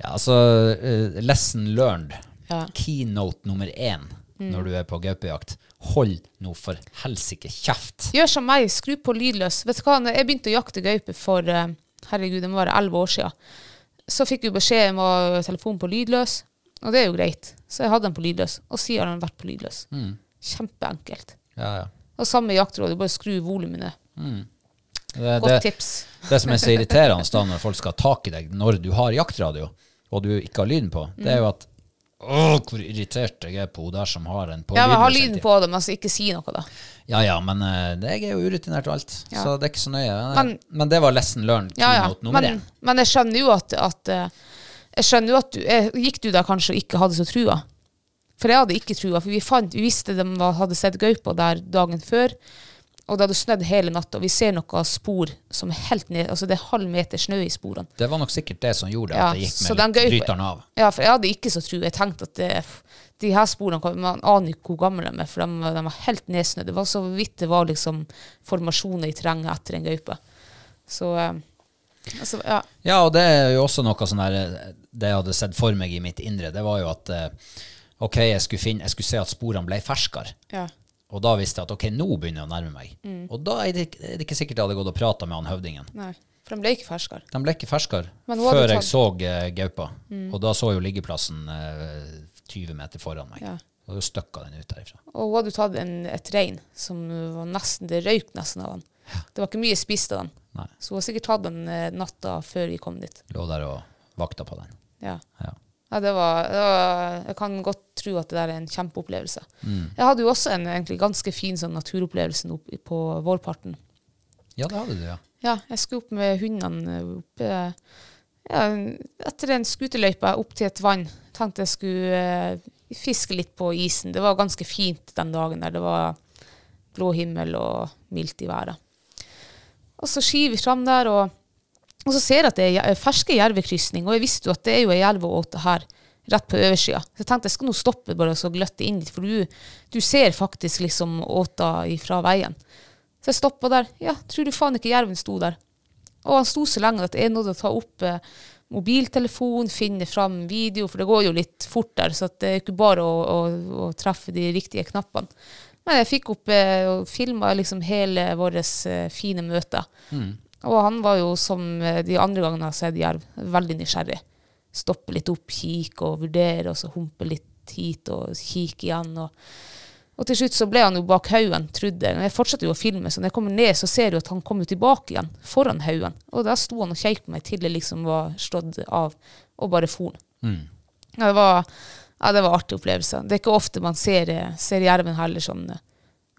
Ja, altså eh, Lesson learned. Ja. Mm. Keynote nummer én når du er på gaupejakt. Hold nå for helsike kjeft! Gjør som meg, skru på lydløs. Vet du hva, når jeg begynte å jakte gaupe for eh, herregud, det må være elleve år siden, så fikk vi beskjed om å ha telefonen på lydløs, og det er jo greit. Så jeg hadde den på lydløs, og siden har den vært på lydløs. Mm. Kjempeenkelt. Ja, ja. Og samme jaktråd, bare skru volumet ned. Det, Godt det, tips. det som er så irriterende da når folk skal ha tak i deg når du har jaktradio, og du ikke har lyden på, det Mm. er jo at Åh, hvor irritert jeg er på hun der som har en på Ja, men ha lydløs hele lyden tiden.» på det, men altså ikke si noe, da. Ja, ja, men eh, det- jeg er jo urutinert og alt, Ja. så det er ikke så nøye. Eh, Men, Men- det var lesson learned, Ja, ja. keynote nummer Men, én. men jeg skjønner jo at, at eh, Jeg skjønner jo at du eh, Gikk du der kanskje og ikke hadde så trua? For jeg hadde ikke trua, for vi, fant, vi visste de var, hadde sett gaupa der dagen før. Og det hadde snødd hele natta, og vi ser noen spor som er helt ned Altså det er halv meter snø i sporene. Det var nok sikkert det som gjorde Ja, at jeg gikk så den med gaupa- bryteren av. Ja, for jeg hadde ikke så tro. Jeg tenkte at det, de her sporene kom- Man aner ikke hvor gamle de er, for de, de var helt nedsnødd. Det var så vidt det var liksom formasjoner i terrenget etter en gaupe. Så eh, altså, ja. Ja, og det er jo også noe sånn der eh, Det jeg hadde sett for meg i mitt indre, det var jo at eh, OK, jeg skulle, finne, jeg skulle se at sporene ble ferskere. ja. Og da visste jeg at OK, nå begynner jeg å nærme meg. Mm. Og da er det, ikke- er det ikke sikkert jeg hadde gått og prata med han høvdingen. Nei, for de ble ikke ferskere. De ble ikke ferskere Men hun hadde før jeg tatt- Mm. så eh, gaupa. Og da så jo liggeplassen eh, 20 meter foran meg. Ja. Og da støkka den ut derifra. Og hun hadde jo tatt en, et rein som var nesten, det røyk nesten av han. Det var ikke mye spist av han. Nei. Så hun har sikkert tatt den eh, natta før vi kom dit. Lå der og vakta på den. Ja. Ja. Ja, det var, det var, jeg kan godt tro at det der er en kjempeopplevelse. Mm. Jeg hadde jo også en egentlig ganske fin sånn naturopplevelse nå opp- på vårparten. ja, det hadde du, ja. Ja, jeg skulle opp med hundene oppe ja, etter en skuterløype opp til et vann. Tenkte jeg skulle eh, fiske litt på isen. Det var ganske fint den dagen der. Det var blå himmel og mildt i været. Og så skyver vi fram der, og, og så ser jeg at det er je- ferske jervekrysning. Og jeg visste jo at det er jo ei jerv og åte her, rett på oversida. Så jeg tenkte jeg skal nå stoppe bare og så gløtte inn dit, for du, du ser faktisk liksom åta ifra veien. Så jeg stoppa der. Ja, tror du faen ikke jerven sto der? Og han sto så lenge at jeg nådde å ta opp eh, mobiltelefon, finne fram video, for det går jo litt fort der, så at det er ikke bare å, å, å treffe de riktige knappene. Men jeg fikk opp eh, og filma liksom hele vårt eh, fine møte. Og han var jo, som eh, de andre gangene jeg har sett jerv, veldig nysgjerrig. Stoppe litt opp, kikke og vurdere, og så humpe litt hit og kikke igjen. og... Og til slutt så ble han jo bak haugen, trodde jeg. Og Jeg fortsatte jo å filme, så når jeg kommer ned, så ser jeg jo at han kommer tilbake igjen, foran haugen. Og der sto han og kjekk på meg til det liksom var slått av, og bare for. Ja, det var, ja, det var en artig opplevelse. Det er ikke ofte man ser, eh, ser jerven heller sånn, eh,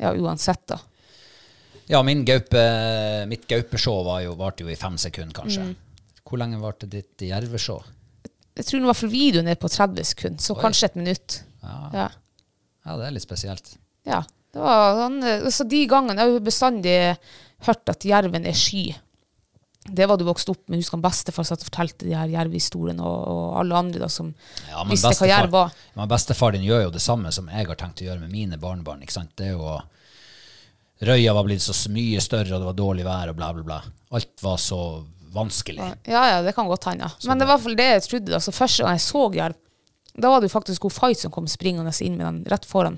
ja, uansett, da. Ja, min gaupe, mitt gaupeshow var jo, varte jo i fem sekunder, kanskje. Mm. Hvor lenge varte ditt jerveshow? Jeg tror i hvert fall videoen er på 30 sekunder, så Oi. kanskje et minutt. ja. Ja, det er litt spesielt. Ja. Det var, han, altså de gangene Jeg har jo bestandig hørt at jerven er sky. Det var du vokst opp med. Husker han bestefar satt og fortalte de her jervehistoriene, og, og alle andre da som Ja, men visste hva jerv var. men bestefar din gjør jo det samme som jeg har tenkt å gjøre med mine barnebarn. ikke sant? Det er jo å- Røya var blitt så s- mye større, og det var dårlig vær, og bla, bla, bla. Alt var så vanskelig. Ja, ja, det kan godt hende. ja. Men det var i hvert fall det jeg trodde. Altså, første gang jeg så jerv, da var det jo faktisk hun Fay som kom springende inn med den rett foran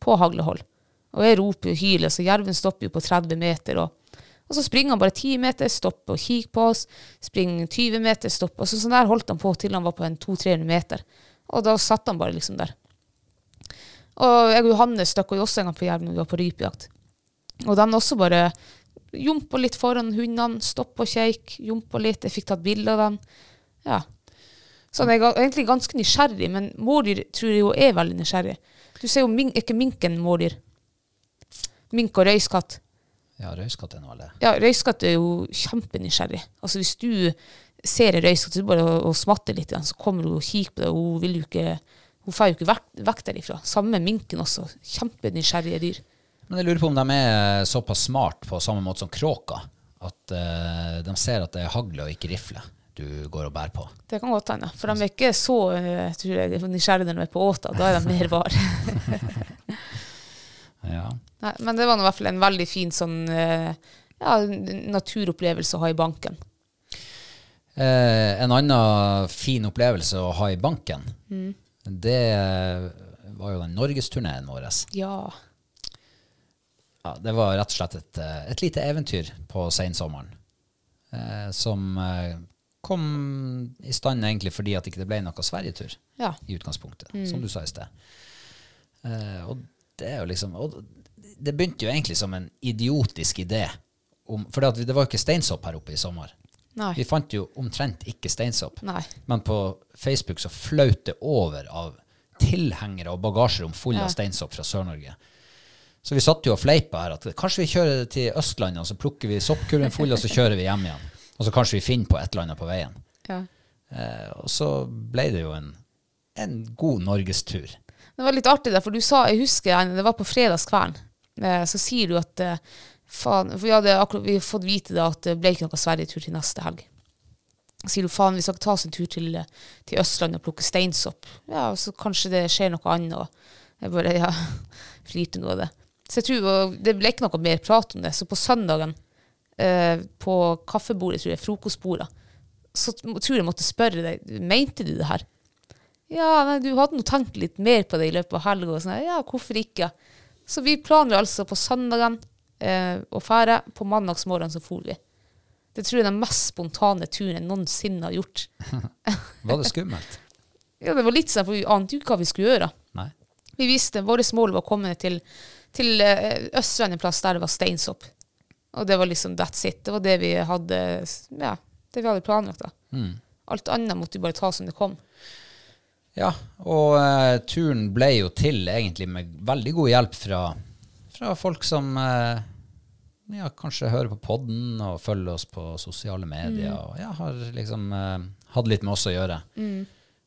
på haglehold. Og jeg roper og hyler, så jerven stopper jo på 30 meter. Og, og så springer han bare 10 meter, stopper og kikker på oss. Springer 20 meter, stopper. Og så, sånn der holdt han på til han var på en 200-300 meter. Og da satt han bare liksom der. Og jeg og Johannes stakk jo også en gang på jerv når vi var på rypejakt. Og de også bare jumpa litt foran hundene, stoppa og kjeik, jumpa litt. Jeg fikk tatt bilde av dem. Ja. Så jeg er ga- egentlig ganske nysgjerrig, men mårdyr tror jeg jo er veldig nysgjerrig. Du ser jo min, er ikke minken mårdyr. Mink og røyskatt. Ja, røyskatt er nå alle. Ja, røyskatt er jo kjempenysgjerrig. Altså hvis du ser en røyskatt, så er det bare å, å smatte litt, i den, så kommer hun og kikker på deg, og hun vil jo ikke hun får jo ikke vekk, vekk derifra. Samme med minken også. Kjempenysgjerrige dyr. Men jeg lurer på om de er eh, såpass smart på samme måte som kråka, at eh, de ser at det er hagle og ikke rifle du går og bærer på. Det kan godt hende. For de er ikke så eh, tror jeg, nysgjerrige når de er på åta. Da er de mer var. Ja. Nei, men det var nå i hvert fall en veldig fin sånn eh, ja, n- naturopplevelse å ha i banken. Eh, en annen fin opplevelse å ha i banken, det var jo den norgesturneen vår. Ja. Ja, det var rett og slett et, eh, et lite eventyr på sensommeren. Eh, som eh, kom i stand egentlig fordi at ikke det ble noe Sverigetur Ja. i utgangspunktet, som du sa i sted. Eh, og det er jo liksom og Det begynte jo egentlig som en idiotisk idé. Om, for det var jo ikke steinsopp her oppe i sommer. Nei. Vi fant jo omtrent ikke steinsopp. Nei. Men på Facebook så flaut det over av tilhengere og bagasjerom fulle av steinsopp fra Sør-Norge. Så vi satt jo og fleipa her at kanskje vi kjører til Østlandet, og så plukker vi soppkurven full, og så kjører vi hjem igjen. Og så kanskje vi finner på et eller annet på veien. ja. Eh, og så ble det jo en, en god norgestur. Det var litt artig, der, for du sa, jeg husker en- det var på fredagskvelden, eh, så sier du at eh, faen For vi hadde akkurat vi hadde fått vite da at det ble ikke noe Sverigetur til neste helg. Så Sier du faen, vi skal ta oss en tur til, eh, til Østlandet og plukke steinsopp. Ja, og så kanskje det skjer noe annet. Og jeg bare ja, flirte noe av det. Så jeg tror og det ble ikke noe mer prat om det. Så på søndagen, eh, på kaffebordet, tror jeg, frokostbordet, så t- tror jeg jeg måtte spørre deg, mente du det her? Ja, nei, du hadde nå tenkt litt mer på det i løpet av helga. og sånn, Ja, hvorfor ikke? Så vi planla altså på søndagen eh, å fære. På mandagsmorgenen så for vi. Det tror jeg er den mest spontane turen jeg noensinne har gjort. Var det skummelt? Ja, det var litt sånn, for vi ante jo ikke hva vi skulle gjøre. Nei. Vi visste vårt mål var å komme ned til, til eh, Østlandet plass der det var steinsopp. Og det var liksom that's it. Det var det vi hadde, ja, det vi hadde planlagt. da. Alt annet måtte vi bare ta som det kom. Ja, og eh, turen ble jo til egentlig med veldig god hjelp fra, fra folk som eh, ja, kanskje høre på podden og følge oss på sosiale medier. Og ja, har liksom eh, hatt litt med oss å gjøre.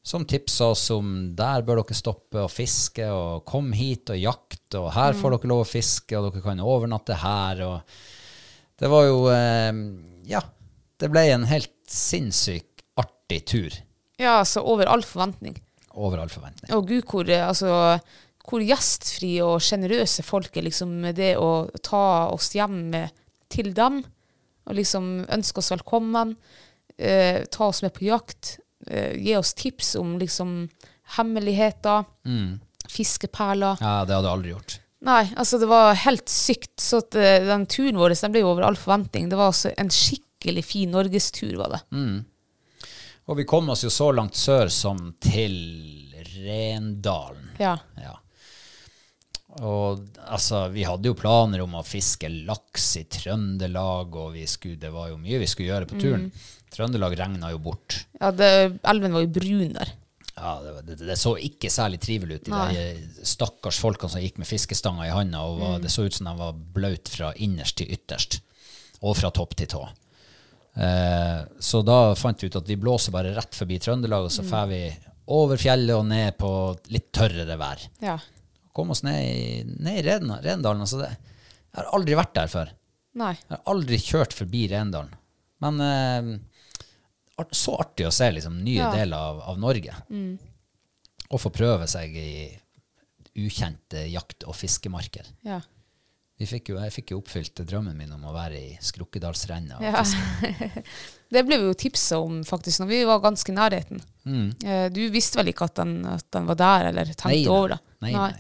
Som tipsa oss om der bør dere stoppe å fiske, og kom hit og jakte, og her får dere lov å fiske, og dere kan overnatte her. Og det var jo eh, Ja, det ble en helt sinnssykt artig tur Ja, altså over all forventning. over all forventning. Og gud, hvor, eh, altså, hvor gjestfrie og sjenerøse folk er liksom med det å ta oss hjem eh, til dem, og liksom ønske oss velkommen, eh, ta oss med på jakt, eh, gi oss tips om liksom hemmeligheter, fiskeperler. Ja, det hadde jeg aldri gjort. Nei, altså det var helt sykt, så at eh, den turen vår den ble jo over all forventning. Det var altså en skikkelig fin norgestur, var det. Og vi kom oss jo så langt sør som til Rendalen. Ja. Ja. Og altså, vi hadde jo planer om å fiske laks i Trøndelag, og vi skulle, det var jo mye vi skulle gjøre på turen. Trøndelag regna jo bort. ja det, elven var jo brun der. Ja, det, var- det, det så ikke særlig trivelig ut i de stakkars folkene som gikk med fiskestanga i handa, og var, det så ut som de var blaut fra innerst til ytterst, og fra topp til tå. Eh, så da fant vi ut at vi blåser bare rett forbi Trøndelag, og så drar vi over fjellet og ned på litt tørrere vær Ja. kom oss ned i, ned i Rena- Rendalen. Altså det, jeg har aldri vært der før. Nei. Jeg har aldri kjørt forbi Rendalen. Men eh, art, så artig å se liksom, nye Ja. Mm. deler av, av Norge. Og få prøve seg i ukjente jakt- og fiskemarker. Ja. Vi fikk jo, jeg fikk jo oppfylt drømmen min om å være i Skrukkedalsrenna. og Ja. fiske. Det ble vi jo tipsa om faktisk når vi var ganske i nærheten. Eh, Du visste vel ikke at den, at den var der, eller tenkte Mm. Nei, over det? Nei, nei.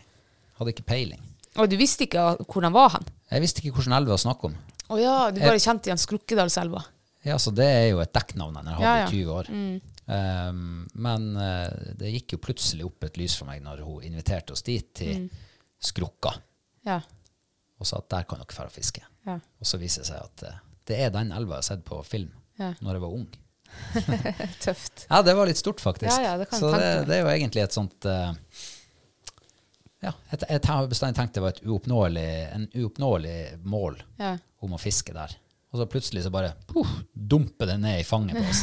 Hadde ikke peiling. Og du visste ikke hvor den var hen? Jeg visste ikke hvilken elv å snakke om. Å ja, du Eh. bare kjente igjen Skrukkedalselva. Ja, så Det er jo et dekknavn jeg har hatt Ja, ja. Mm. i 20 år. Um, men eh, det gikk jo plutselig opp et lys for meg når hun inviterte oss dit, til Mm. Skrukka, Ja. og sa at der kan dere dra og fiske. Ja. Og så viser det seg at eh, det er den elva jeg har sett på film Ja. når jeg var ung. Tøft. Ja, det var litt stort, faktisk. Ja, ja, det kan jeg så det, tenke meg. det er jo egentlig et sånt eh, Ja, et, et, jeg har bestandig tenkt det var et uoppnåelig, en uoppnåelig mål Ja. om å fiske der. Og så plutselig så bare puff, dumper det ned i fanget på oss.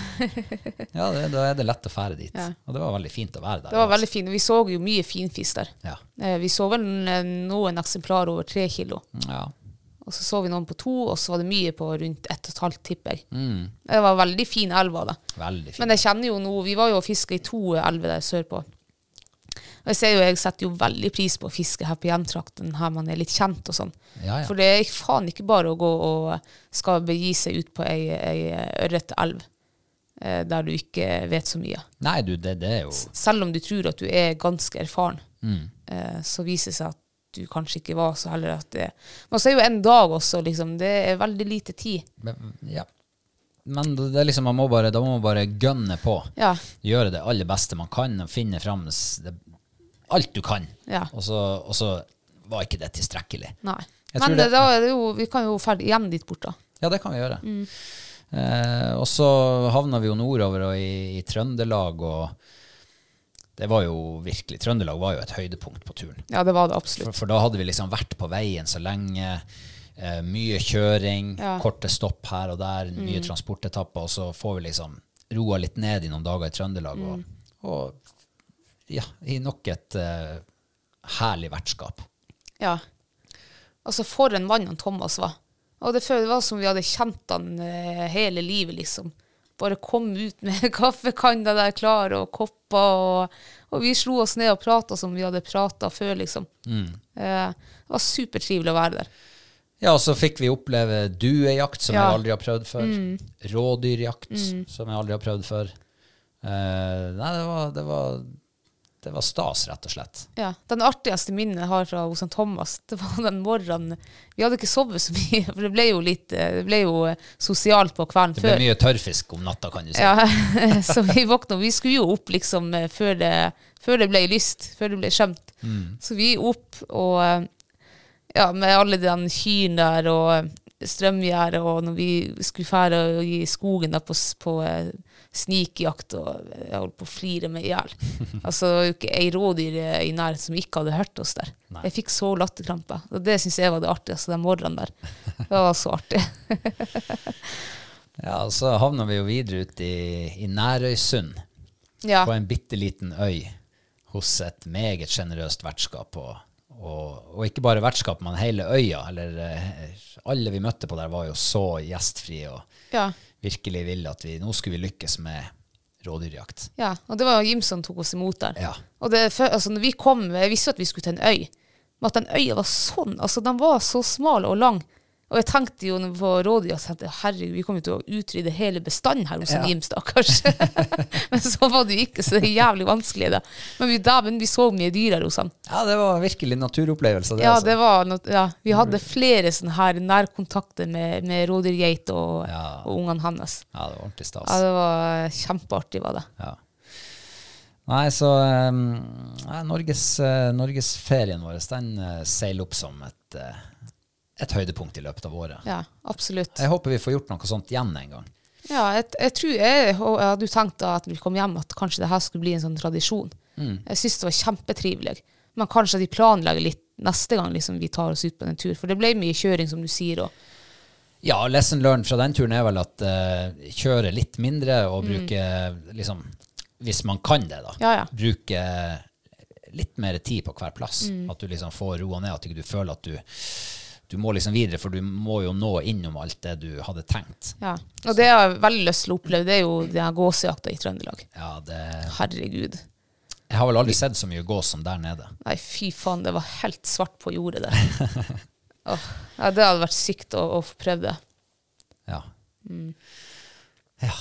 ja, det, da er det lett å fære dit. Ja. Og det var veldig fint å være der. Det var veldig fint. og Vi så jo mye finfisk der. Ja. Eh, Vi så vel eh, noen eksemplarer over tre kilo. ja. Og så så vi noen på to, og så var det mye på rundt ett og et halvt, tipper jeg. Det var veldig fin elv av det. Mm, Veldig fint. Men jeg kjenner jo nå Vi var jo og fiska i to elver der sørpå. Og jeg ser jo, jeg setter jo veldig pris på å fiske her på hjemtrakten, her man er litt kjent og sånn. Ja, ja. For det er faen ikke bare å gå og skal begi seg ut på ei, ei ørretelv eh, der du ikke vet så mye. Nei, du, det, det er jo Selv om du tror at du er ganske erfaren, Mm. eh, så viser det seg at du kanskje ikke var så heller at det Men så er jo en dag også, liksom. Det er veldig lite tid. men- Ja. Men det det er liksom, man må bare, da må man bare gønne på. Ja. Gjøre det aller beste man kan, og finne fram s- det, alt du kan. Ja. Og, så, og så var ikke det tilstrekkelig. Nei. Jeg tror Men det- eh, da er det jo, vi kan jo dra hjem dit bort, da. Ja, det kan vi gjøre. Eh, og så havna vi jo nordover og i, i Trøndelag, og det var jo virkelig Trøndelag var jo et høydepunkt på turen. Ja, det var det absolutt. For, for da hadde vi liksom vært på veien så lenge. Eh, mye kjøring, korte stopp her og der, Mm. mye transportetapper, og så får vi liksom roa litt ned i noen dager i Trøndelag, Mm. og, og ja, i nok et eh, herlig vertskap. Ja. Altså, for en mann han Thomas var. Og det føles var som vi hadde kjent han eh, hele livet, liksom. Bare kom ut med kaffekanna der klar, og kopper, og, og vi slo oss ned og prata som vi hadde prata før, liksom. Mm. Eh, det var supertrivelig å være der. Ja, og så fikk vi oppleve duejakt, som Ja. Mm. jeg aldri har prøvd før. Rådyrjakt, som jeg aldri har prøvd før. Eh, nei, det var, det, var, det var stas, rett og slett. Ja. Den artigste minnet jeg har fra hos han Thomas, det var den morgenen Vi hadde ikke sovet så mye, for det ble jo litt eh, Det ble jo eh, sosialt på kvelden Det før. ble mye tørrfisk om natta, kan du si. Ja, så vi våkna. Vi skulle jo opp liksom eh, før det, før det ble lyst, før det ble skjømt. Så vi opp og eh, ja, med alle de kyrne der og strømgjerde, og når vi skulle fære og i skogen da, på, s- på eh, snikjakt, og eh, jeg holdt på å flire meg i hjel. Altså, det var jo ikke ei rådyr eh, i nærheten som ikke hadde hørt oss der. Jeg fikk så latterkrampe. Og det syns jeg var det artigste den morgenen der. Det var så artig. Ja, og så havna vi jo videre ut i, i Nærøysund, Ja. på en bitte liten øy, hos et meget sjenerøst vertskap. Og, og, og ikke bare vertskap, men hele øya. Eller eh, alle vi møtte på der, var jo så gjestfrie og ja. virkelig ville at vi nå skulle vi lykkes med rådyrjakt. Ja, og det var jo Jim som tok oss imot der. Ja. Og det, fø- altså, når vi kom, jeg visste jo at vi skulle til en øy, men at den øya var sånn, altså den var så smal og lang. Og jeg tenkte jo på rådyr, jeg tenkte, herregud, vi kommer jo til å utrydde hele bestanden her hos en Jim, stakkars. men så var det jo ikke så jævlig vanskelig da. Men vi, da, men vi så mye dyr her hos han. Ja, det var virkelig naturopplevelse. Det, Mm. Ja, altså. det var noe, ja, vi hadde flere sånne her nærkontakter med, med rådyrgeit og, Ja. og ungene hans. ja, det var ordentlig stas. Ja, det var kjempeartig, var det. Ja. Nei, så um, nei, Norges, eh, Norgesferien vår den eh, seiler opp som et, eh, et høydepunkt i løpet av året. Ja, absolutt. Jeg håper vi får gjort noe sånt igjen en gang. Ja, jeg, jeg tror jeg, og jeg hadde jo tenkt da at vi kom hjem at kanskje det her skulle bli en sånn tradisjon. Jeg syns det var kjempetrivelig. Men kanskje de planlegger litt neste gang liksom, vi tar oss ut på en tur. For det ble mye kjøring, som du sier. Og, Ja, lesson learned fra den turen er vel at eh, kjøre litt mindre og bruke liksom, Hvis man kan det, da. Mm. Ja, ja. Bruke eh, litt mer tid på hver plass. Mm. At du liksom får roa ned, at ikke du føler at du du må liksom videre, for du må jo nå innom alt det du hadde tenkt. ja. og det jeg har veldig lyst til å oppleve, det er jo den her gåsejakta i Trøndelag. Ja, det, Herregud. Jeg har vel aldri sett så mye gås som der nede. Nei, fy faen, det var helt svart på jordet der. Åh, ja, det hadde vært sykt å, å få prøvd det. Ja. ja.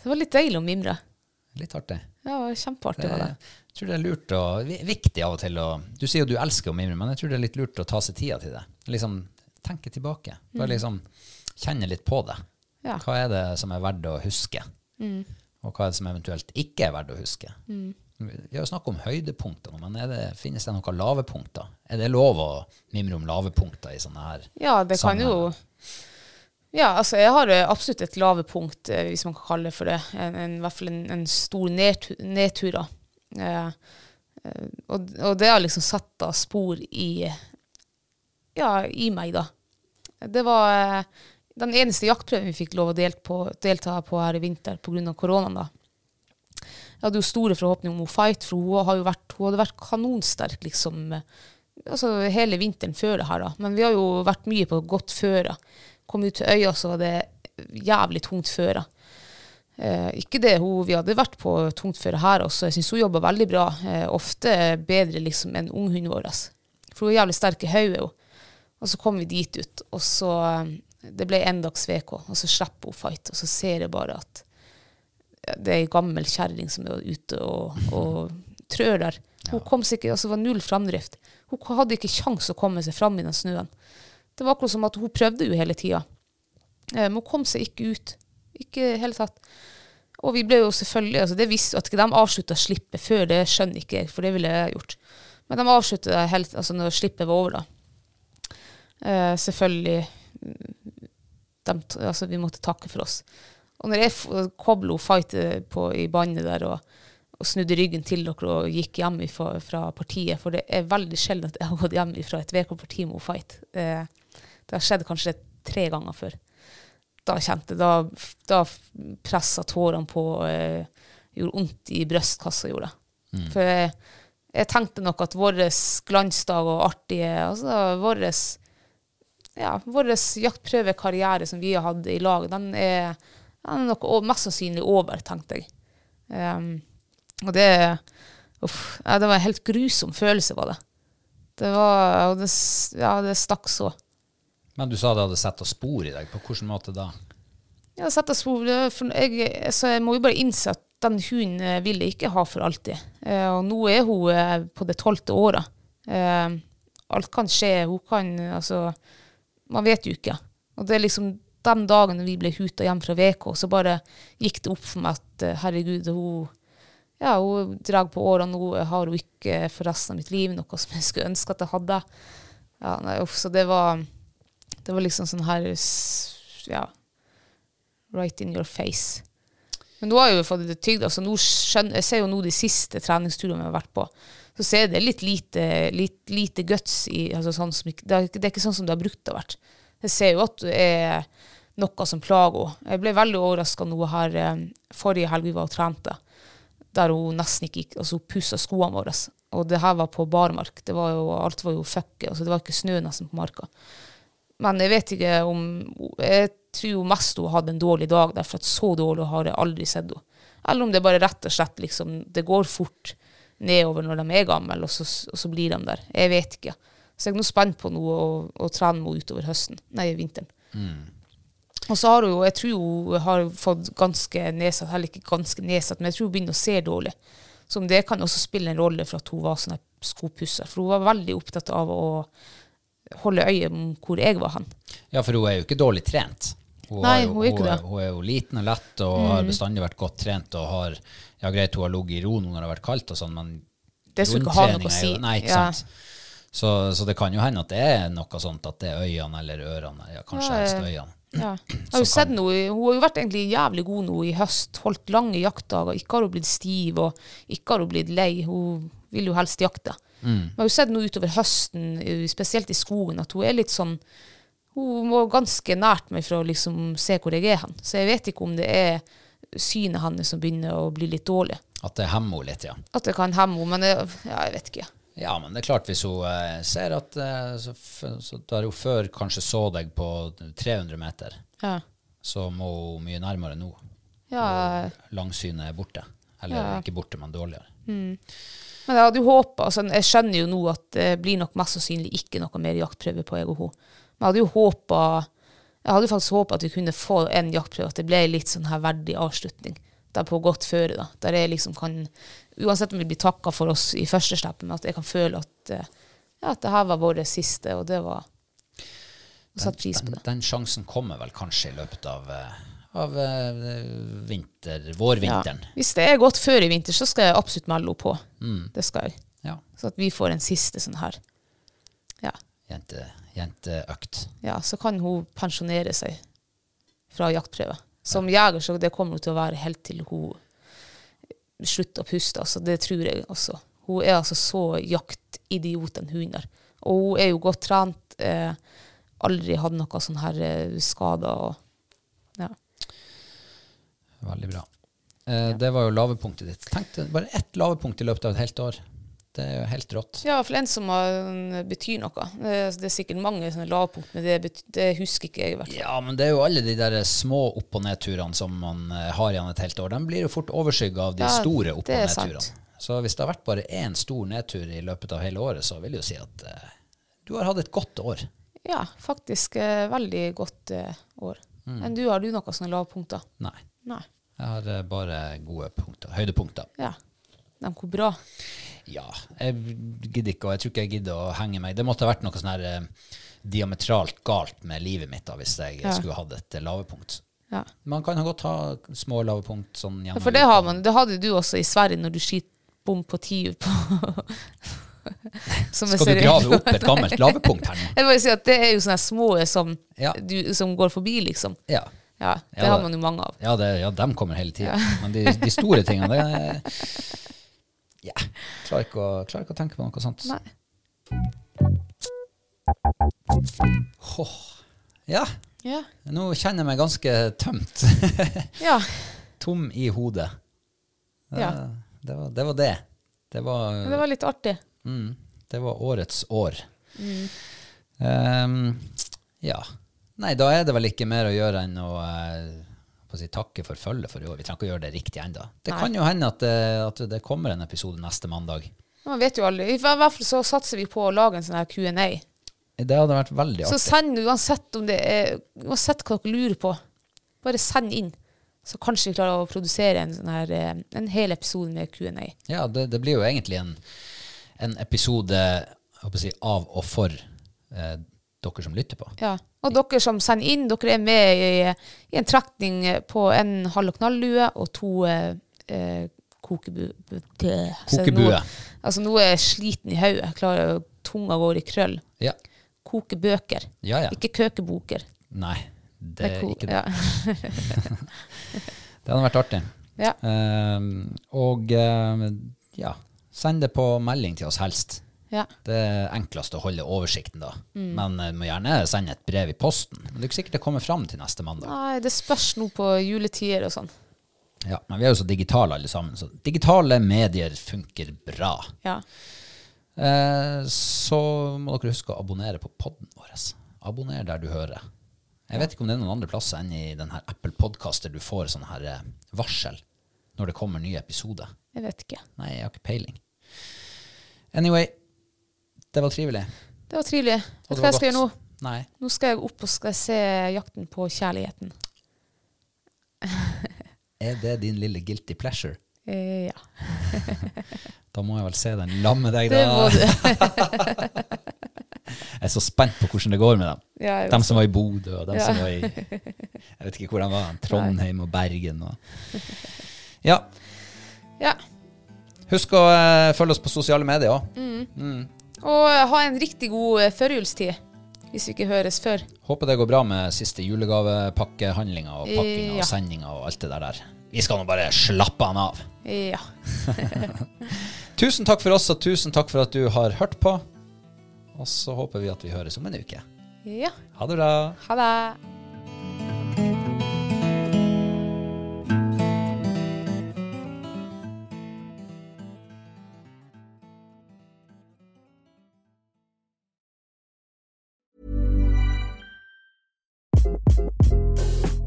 Det var litt deilig å mimre. Litt artig. Ja, det var kjempeartig. var det. Eh, Jeg tror det er lurt og vi- viktig av og til å Du sier jo du elsker å mimre, men jeg tror det er litt lurt å ta seg tida til det. Liksom tenke tilbake. Bare liksom kjenne litt på det. Mm. Ja. Mm. Hva er det som er verdt å huske? Og hva er det som eventuelt ikke er verdt å huske? Vi har jo snakket om høydepunkter, nå, men er det, finnes det noen lave punkter? Er det lov å mimre om lave punkter i sånne her Ja, det kan jo sammenhenger? Ja, altså jeg har eh, absolutt et lave punkt, eh, hvis man kan kalle det for det. En, en, I hvert fall en, en stor nedtur, nedtur da. Eh, eh, og, og det har liksom satt da spor i Ja, i meg, da. Det var eh, den eneste jaktprøven vi fikk lov å delt på, delta på her i vinter pga. koronaen, da. Jeg hadde jo store forhåpninger om hun fight, for hun, har jo vært, hun hadde vært kanonsterk liksom, eh, altså, hele vinteren før det her. Da. Men vi har jo vært mye på godt føre. Kom ut til øya, så var det jævlig tungt føre. Eh, ikke det, hun, Vi hadde vært på tungt føre her også. Jeg syns hun jobba veldig bra. Eh, ofte bedre liksom, enn unghunden vår. For hun er jævlig sterk i hodet. hun. Og så kom vi dit ut, og så eh, Det ble en dags VK, og så slipper hun fight. Og så ser jeg bare at det er ei gammel kjerring som er ute og, og trør der. Hun kom sikkert, altså det var null framdrift. Hun k- hadde ikke kjangs å komme seg fram i den snøen. Det var akkurat som at hun prøvde jo hele tida. Eh, Men hun kom seg ikke ut. Ikke i det hele tatt. Og vi ble jo selvfølgelig altså Det visste jo at ikke de avslutta slippet før, det skjønner ikke jeg, for det ville jeg gjort. Men de avslutta helt, altså når slippet var over, da. Eh, selvfølgelig mm, de, t- altså, Vi måtte takke for oss. Og når jeg f- koblet fightet på, i bandet der og, og snudde ryggen til dere og gikk hjem ifra, fra partiet For det er veldig sjelden at jeg har gått hjem fra et VK-parti med fight. Eh, det har skjedd kanskje tre ganger før. Da kjente jeg Da, da pressa tårene på og eh, gjorde vondt i brystkassa. gjorde det. For jeg, jeg tenkte nok at vår glansdag og artige altså våres ja, vår jaktprøvekarriere som vi har hatt i lag, den er, den er nok o- mest sannsynlig over, tenkte jeg. Ehm, og det, uff, ja, det var en helt grusom følelse, var det. Det var, og det, s- ja, det stakk så. Men du sa det hadde satt oss spor i deg. På hvilken måte da? Ja, sett deg spor. Det er for- Jeg, så jeg må jo bare innse at den hunden eh, vil jeg ikke ha for alltid. Eh, og nå er hun eh, på det tolvte året. Eh, alt kan skje. Hun kan eh, Altså, man vet jo ikke. Og det er liksom de dagene vi ble huta hjem fra VK, så bare gikk det opp for meg at eh, herregud, hun ja, hun drar på årene nå. Jeg har hun ikke for resten av mitt liv noe som jeg skulle ønske at jeg hadde. Ja, nei, uff, så det var Det var liksom sånn her s- Ja. Right in your face. Men nå har jeg jo fått det tygd. altså nå skjønner, Jeg ser jo nå de siste treningsturene jeg har vært på. Så ser jeg det litt lite, litt, lite guts i altså sånn som, ikke- det, er, ikke- det er ikke sånn som det har brukt å vært. Jeg ser jo at det er noe som plager henne. Jeg ble veldig overraska nå her eh, forrige helg vi var og trente, der hun nesten ikke gikk altså Hun pussa skoene våre. Og det her var på barmark. Det var jo, alt var jo fucket. Altså det var ikke snø nesten på marka. Men jeg vet ikke om Jeg tror jo mest hun hadde en dårlig dag, derfor at så dårlig har jeg aldri sett henne. Eller om det bare rett og slett liksom Det går fort nedover når de er gamle, og så, og så blir de der. Jeg vet ikke. Så jeg er nå spent på noe å, å trene henne utover høsten. Nei, vinteren. Og så har hun jo Jeg tror hun har fått ganske nedsatt, heller ikke ganske nedsatt, men jeg tror hun begynner å se dårlig. Så om det kan også spille en rolle for at hun var sånn her skopusser. For hun var veldig opptatt av å holde øye med hvor jeg var hen. Ja, for hun er jo ikke dårlig trent. Hun, Nei, har jo, hun er ikke hun, det. Mm. hun er jo liten og lett og har bestandig vært godt trent. og har, ja Greit, hun har ligget i ro nå når det har vært kaldt, og sånn, men Det skulle ikke ha noe å rundtrening er si. jo- Nei, ikke Ja. sant? Så, så det kan jo hende at det er noe sånt at det er øynene eller ørene. Ja, kanskje Ja, helst ja. øynene. Ja. Jeg har jo sett noe, i- hun har jo vært egentlig jævlig god nå i høst. Holdt lange jaktdager. Ikke har hun blitt stiv, og ikke har hun blitt lei. Hun vil jo helst jakte. Mm. Men jeg har jo sett nå utover høsten, eh, spesielt i skogen, at hun er litt sånn Hun må ganske nært meg for å liksom se hvor jeg er hen. Så jeg vet ikke om det er synet hennes som begynner å bli litt dårlig. At det hemmer henne litt, ja. At det kan hemme henne, men jeg, ja, jeg vet ikke. Ja, men det er klart hvis hun eh, ser at eh, så, f- så der hun før kanskje så deg på 300 meter, Ja. så må hun mye nærmere nå. ja. Langsynet er borte. Eller Ja. ikke borte, men dårligere. Men jeg hadde jo håpet, altså jeg skjønner jo nå at det blir nok mest sannsynlig ikke noe mer jaktprøve på jeg og hun. Men jeg hadde jo håpet, jeg hadde jo faktisk håpet at vi kunne få en jaktprøve, at det ble litt sånn her verdig avslutning. Der på godt føre da, der jeg liksom kan, uansett om vi blir takket for oss i første steppet, men at jeg kan føle at, eh, ja, at det her var vår siste, og det var, og satt pris på Den, det. den sjansen kommer vel kanskje i løpet av, eh, av eh, vinter, vårvinteren. Ja. Hvis det er godt før i vinter, så skal jeg absolutt melde henne på. Mm, Det skal jeg. Ja. Så at vi får en siste sånn her. Ja. Jente, jenteøkt. ja, så kan hun pensjonere seg fra jaktprøve. Som jeger så det kommer hun til å være helt til hun slutter å puste. Altså, det tror jeg også. Hun er altså så jaktidiot en hund er. Og hun er jo godt trent. Eh, aldri hatt noe sånn her eh, skader. Og, ja. Veldig bra. Eh, Det var jo lavepunktet ditt. Tenk deg bare ett lavepunkt i løpet av et helt år. Det er jo helt rått. Ja, for en som har- mm, betyr noe. Eh, Det er sikkert mange sånne lavpunkt, men det, bet- det husker ikke jeg i hvert fall. Ja, men det er jo alle de der små opp- og nedturene som man eh, har igjen et helt år. De blir jo fort overskygga av de Ja, store opp- det og er nedturene. sant. Så hvis det har vært bare én stor nedtur i løpet av hele året, så vil jeg jo si at eh, du har hatt et godt år. Ja, faktisk eh, veldig godt eh, år. Enn du, har du noen sånne lavpunkter? Nei. Nei. Jeg har eh, bare gode punkter. Høydepunkter. Ja. De hvor bra. Ja. Jeg gidder ikke, og jeg tror ikke jeg gidder å henge meg. Det måtte ha vært noe sånn her eh, diametralt galt med livet mitt da, hvis jeg eh, Ja. skulle hatt et eh, lavepunkt. Ja. Man kan ha godt ha små lavepunkt sånn gjennom For det uka. har man. Det hadde du også i Sverige når du skjøt bom på ti på Som jeg Skal ser- du grave opp et gammelt lavepunkt her nå? Jeg vil bare si at det er jo sånne små som, Ja. du, som går forbi, liksom. Ja. Ja, det Ja, har det- man jo mange av. Ja, det, ja dem kommer hele tida. Men de, de store tingene, det er- ja, klarer, ikke å, klarer ikke å tenke på noe sånt. Nei. Ja, Ja. nå kjenner jeg meg ganske tømt. ja. Tom i hodet. Det, Ja. det, var, det var det. Det var, Men det var Mm. litt artig. mm, det var årets år. Ehm, ja. Nei, da er det vel ikke mer å gjøre enn å eh, på å si, takke for følget for i år. Vi trenger ikke å gjøre det riktig ennå. Det Nei. kan jo hende at det, at det kommer en episode neste mandag. Man vet jo aldri. I hver- hvert fall så satser vi på å lage en sånn her Q&A. Det hadde vært veldig Så artig. send uansett om det er Uansett hva dere lurer på, bare send inn. Så kanskje vi klarer å produsere en, sånn her, eh, en hel episode med Q&A. Ja, det, det blir jo egentlig en, en episode jeg håper å si, av og for eh, dere som lytter på. Ja. Og dere som sender inn, dere er med i, i en trekning på en halv- og knalllue og to eh, eh, kokebu... bu- dø. Så Kokebue. altså Nå, altså, nå er jeg sliten i hodet. Jeg klarer- Tunga går i krøll. Ja. koke bøker. Ja, ja. Ikke køke boker. Nei, det er ko- ikke det. ja. Det hadde vært artig. Ja. Ehm, og ehm, ja, send det på melding til oss helst. ja. Det er enklest å holde oversikten da. Men eh, må gjerne sende et brev i posten. Men det er ikke sikkert det kommer fram til neste mandag. Nei, det spørs nå på juletider og sånn. Ja, men vi er jo så digitale alle sammen, så digitale medier funker bra. Ja. Eh, så må dere huske å abonnere på podden vår. Abonner der du hører. Jeg vet ikke om det er noen andre plasser enn i den her Apple Podcaster du får sånn her eh, varsel når det kommer nye episoder. Jeg vet ikke. Nei, jeg har ikke peiling. Anyway, det var trivelig. Det var trivelig. Og det Vet du var hva jeg skal gjøre nå? godt. Nei. Nå skal jeg opp og skal se Jakten på kjærligheten. Er det din lille guilty pleasure? Eh, ja. Da må jeg vel se den lamme deg, Det må da. du. Jeg er så spent på hvordan det går med dem. Ja, jeg Dem også. som var i Bodø, og dem Ja. som var i Jeg vet ikke hvor de var. Trondheim og Bergen og Ja. ja. Husk å eh, følge oss på sosiale medier òg. Og eh, ha en riktig god eh, førjulstid, hvis vi ikke høres før. Håper det går bra med siste julegavepakkehandlinga og pakkinga Ja. og sendinga og alt det der der. Vi skal nå bare slappe han av. Eh, Ja. Tusen takk for oss, og tusen takk for at du har hørt på. Og så håper vi at vi høres om en uke. ja. Ha det bra. Ha det.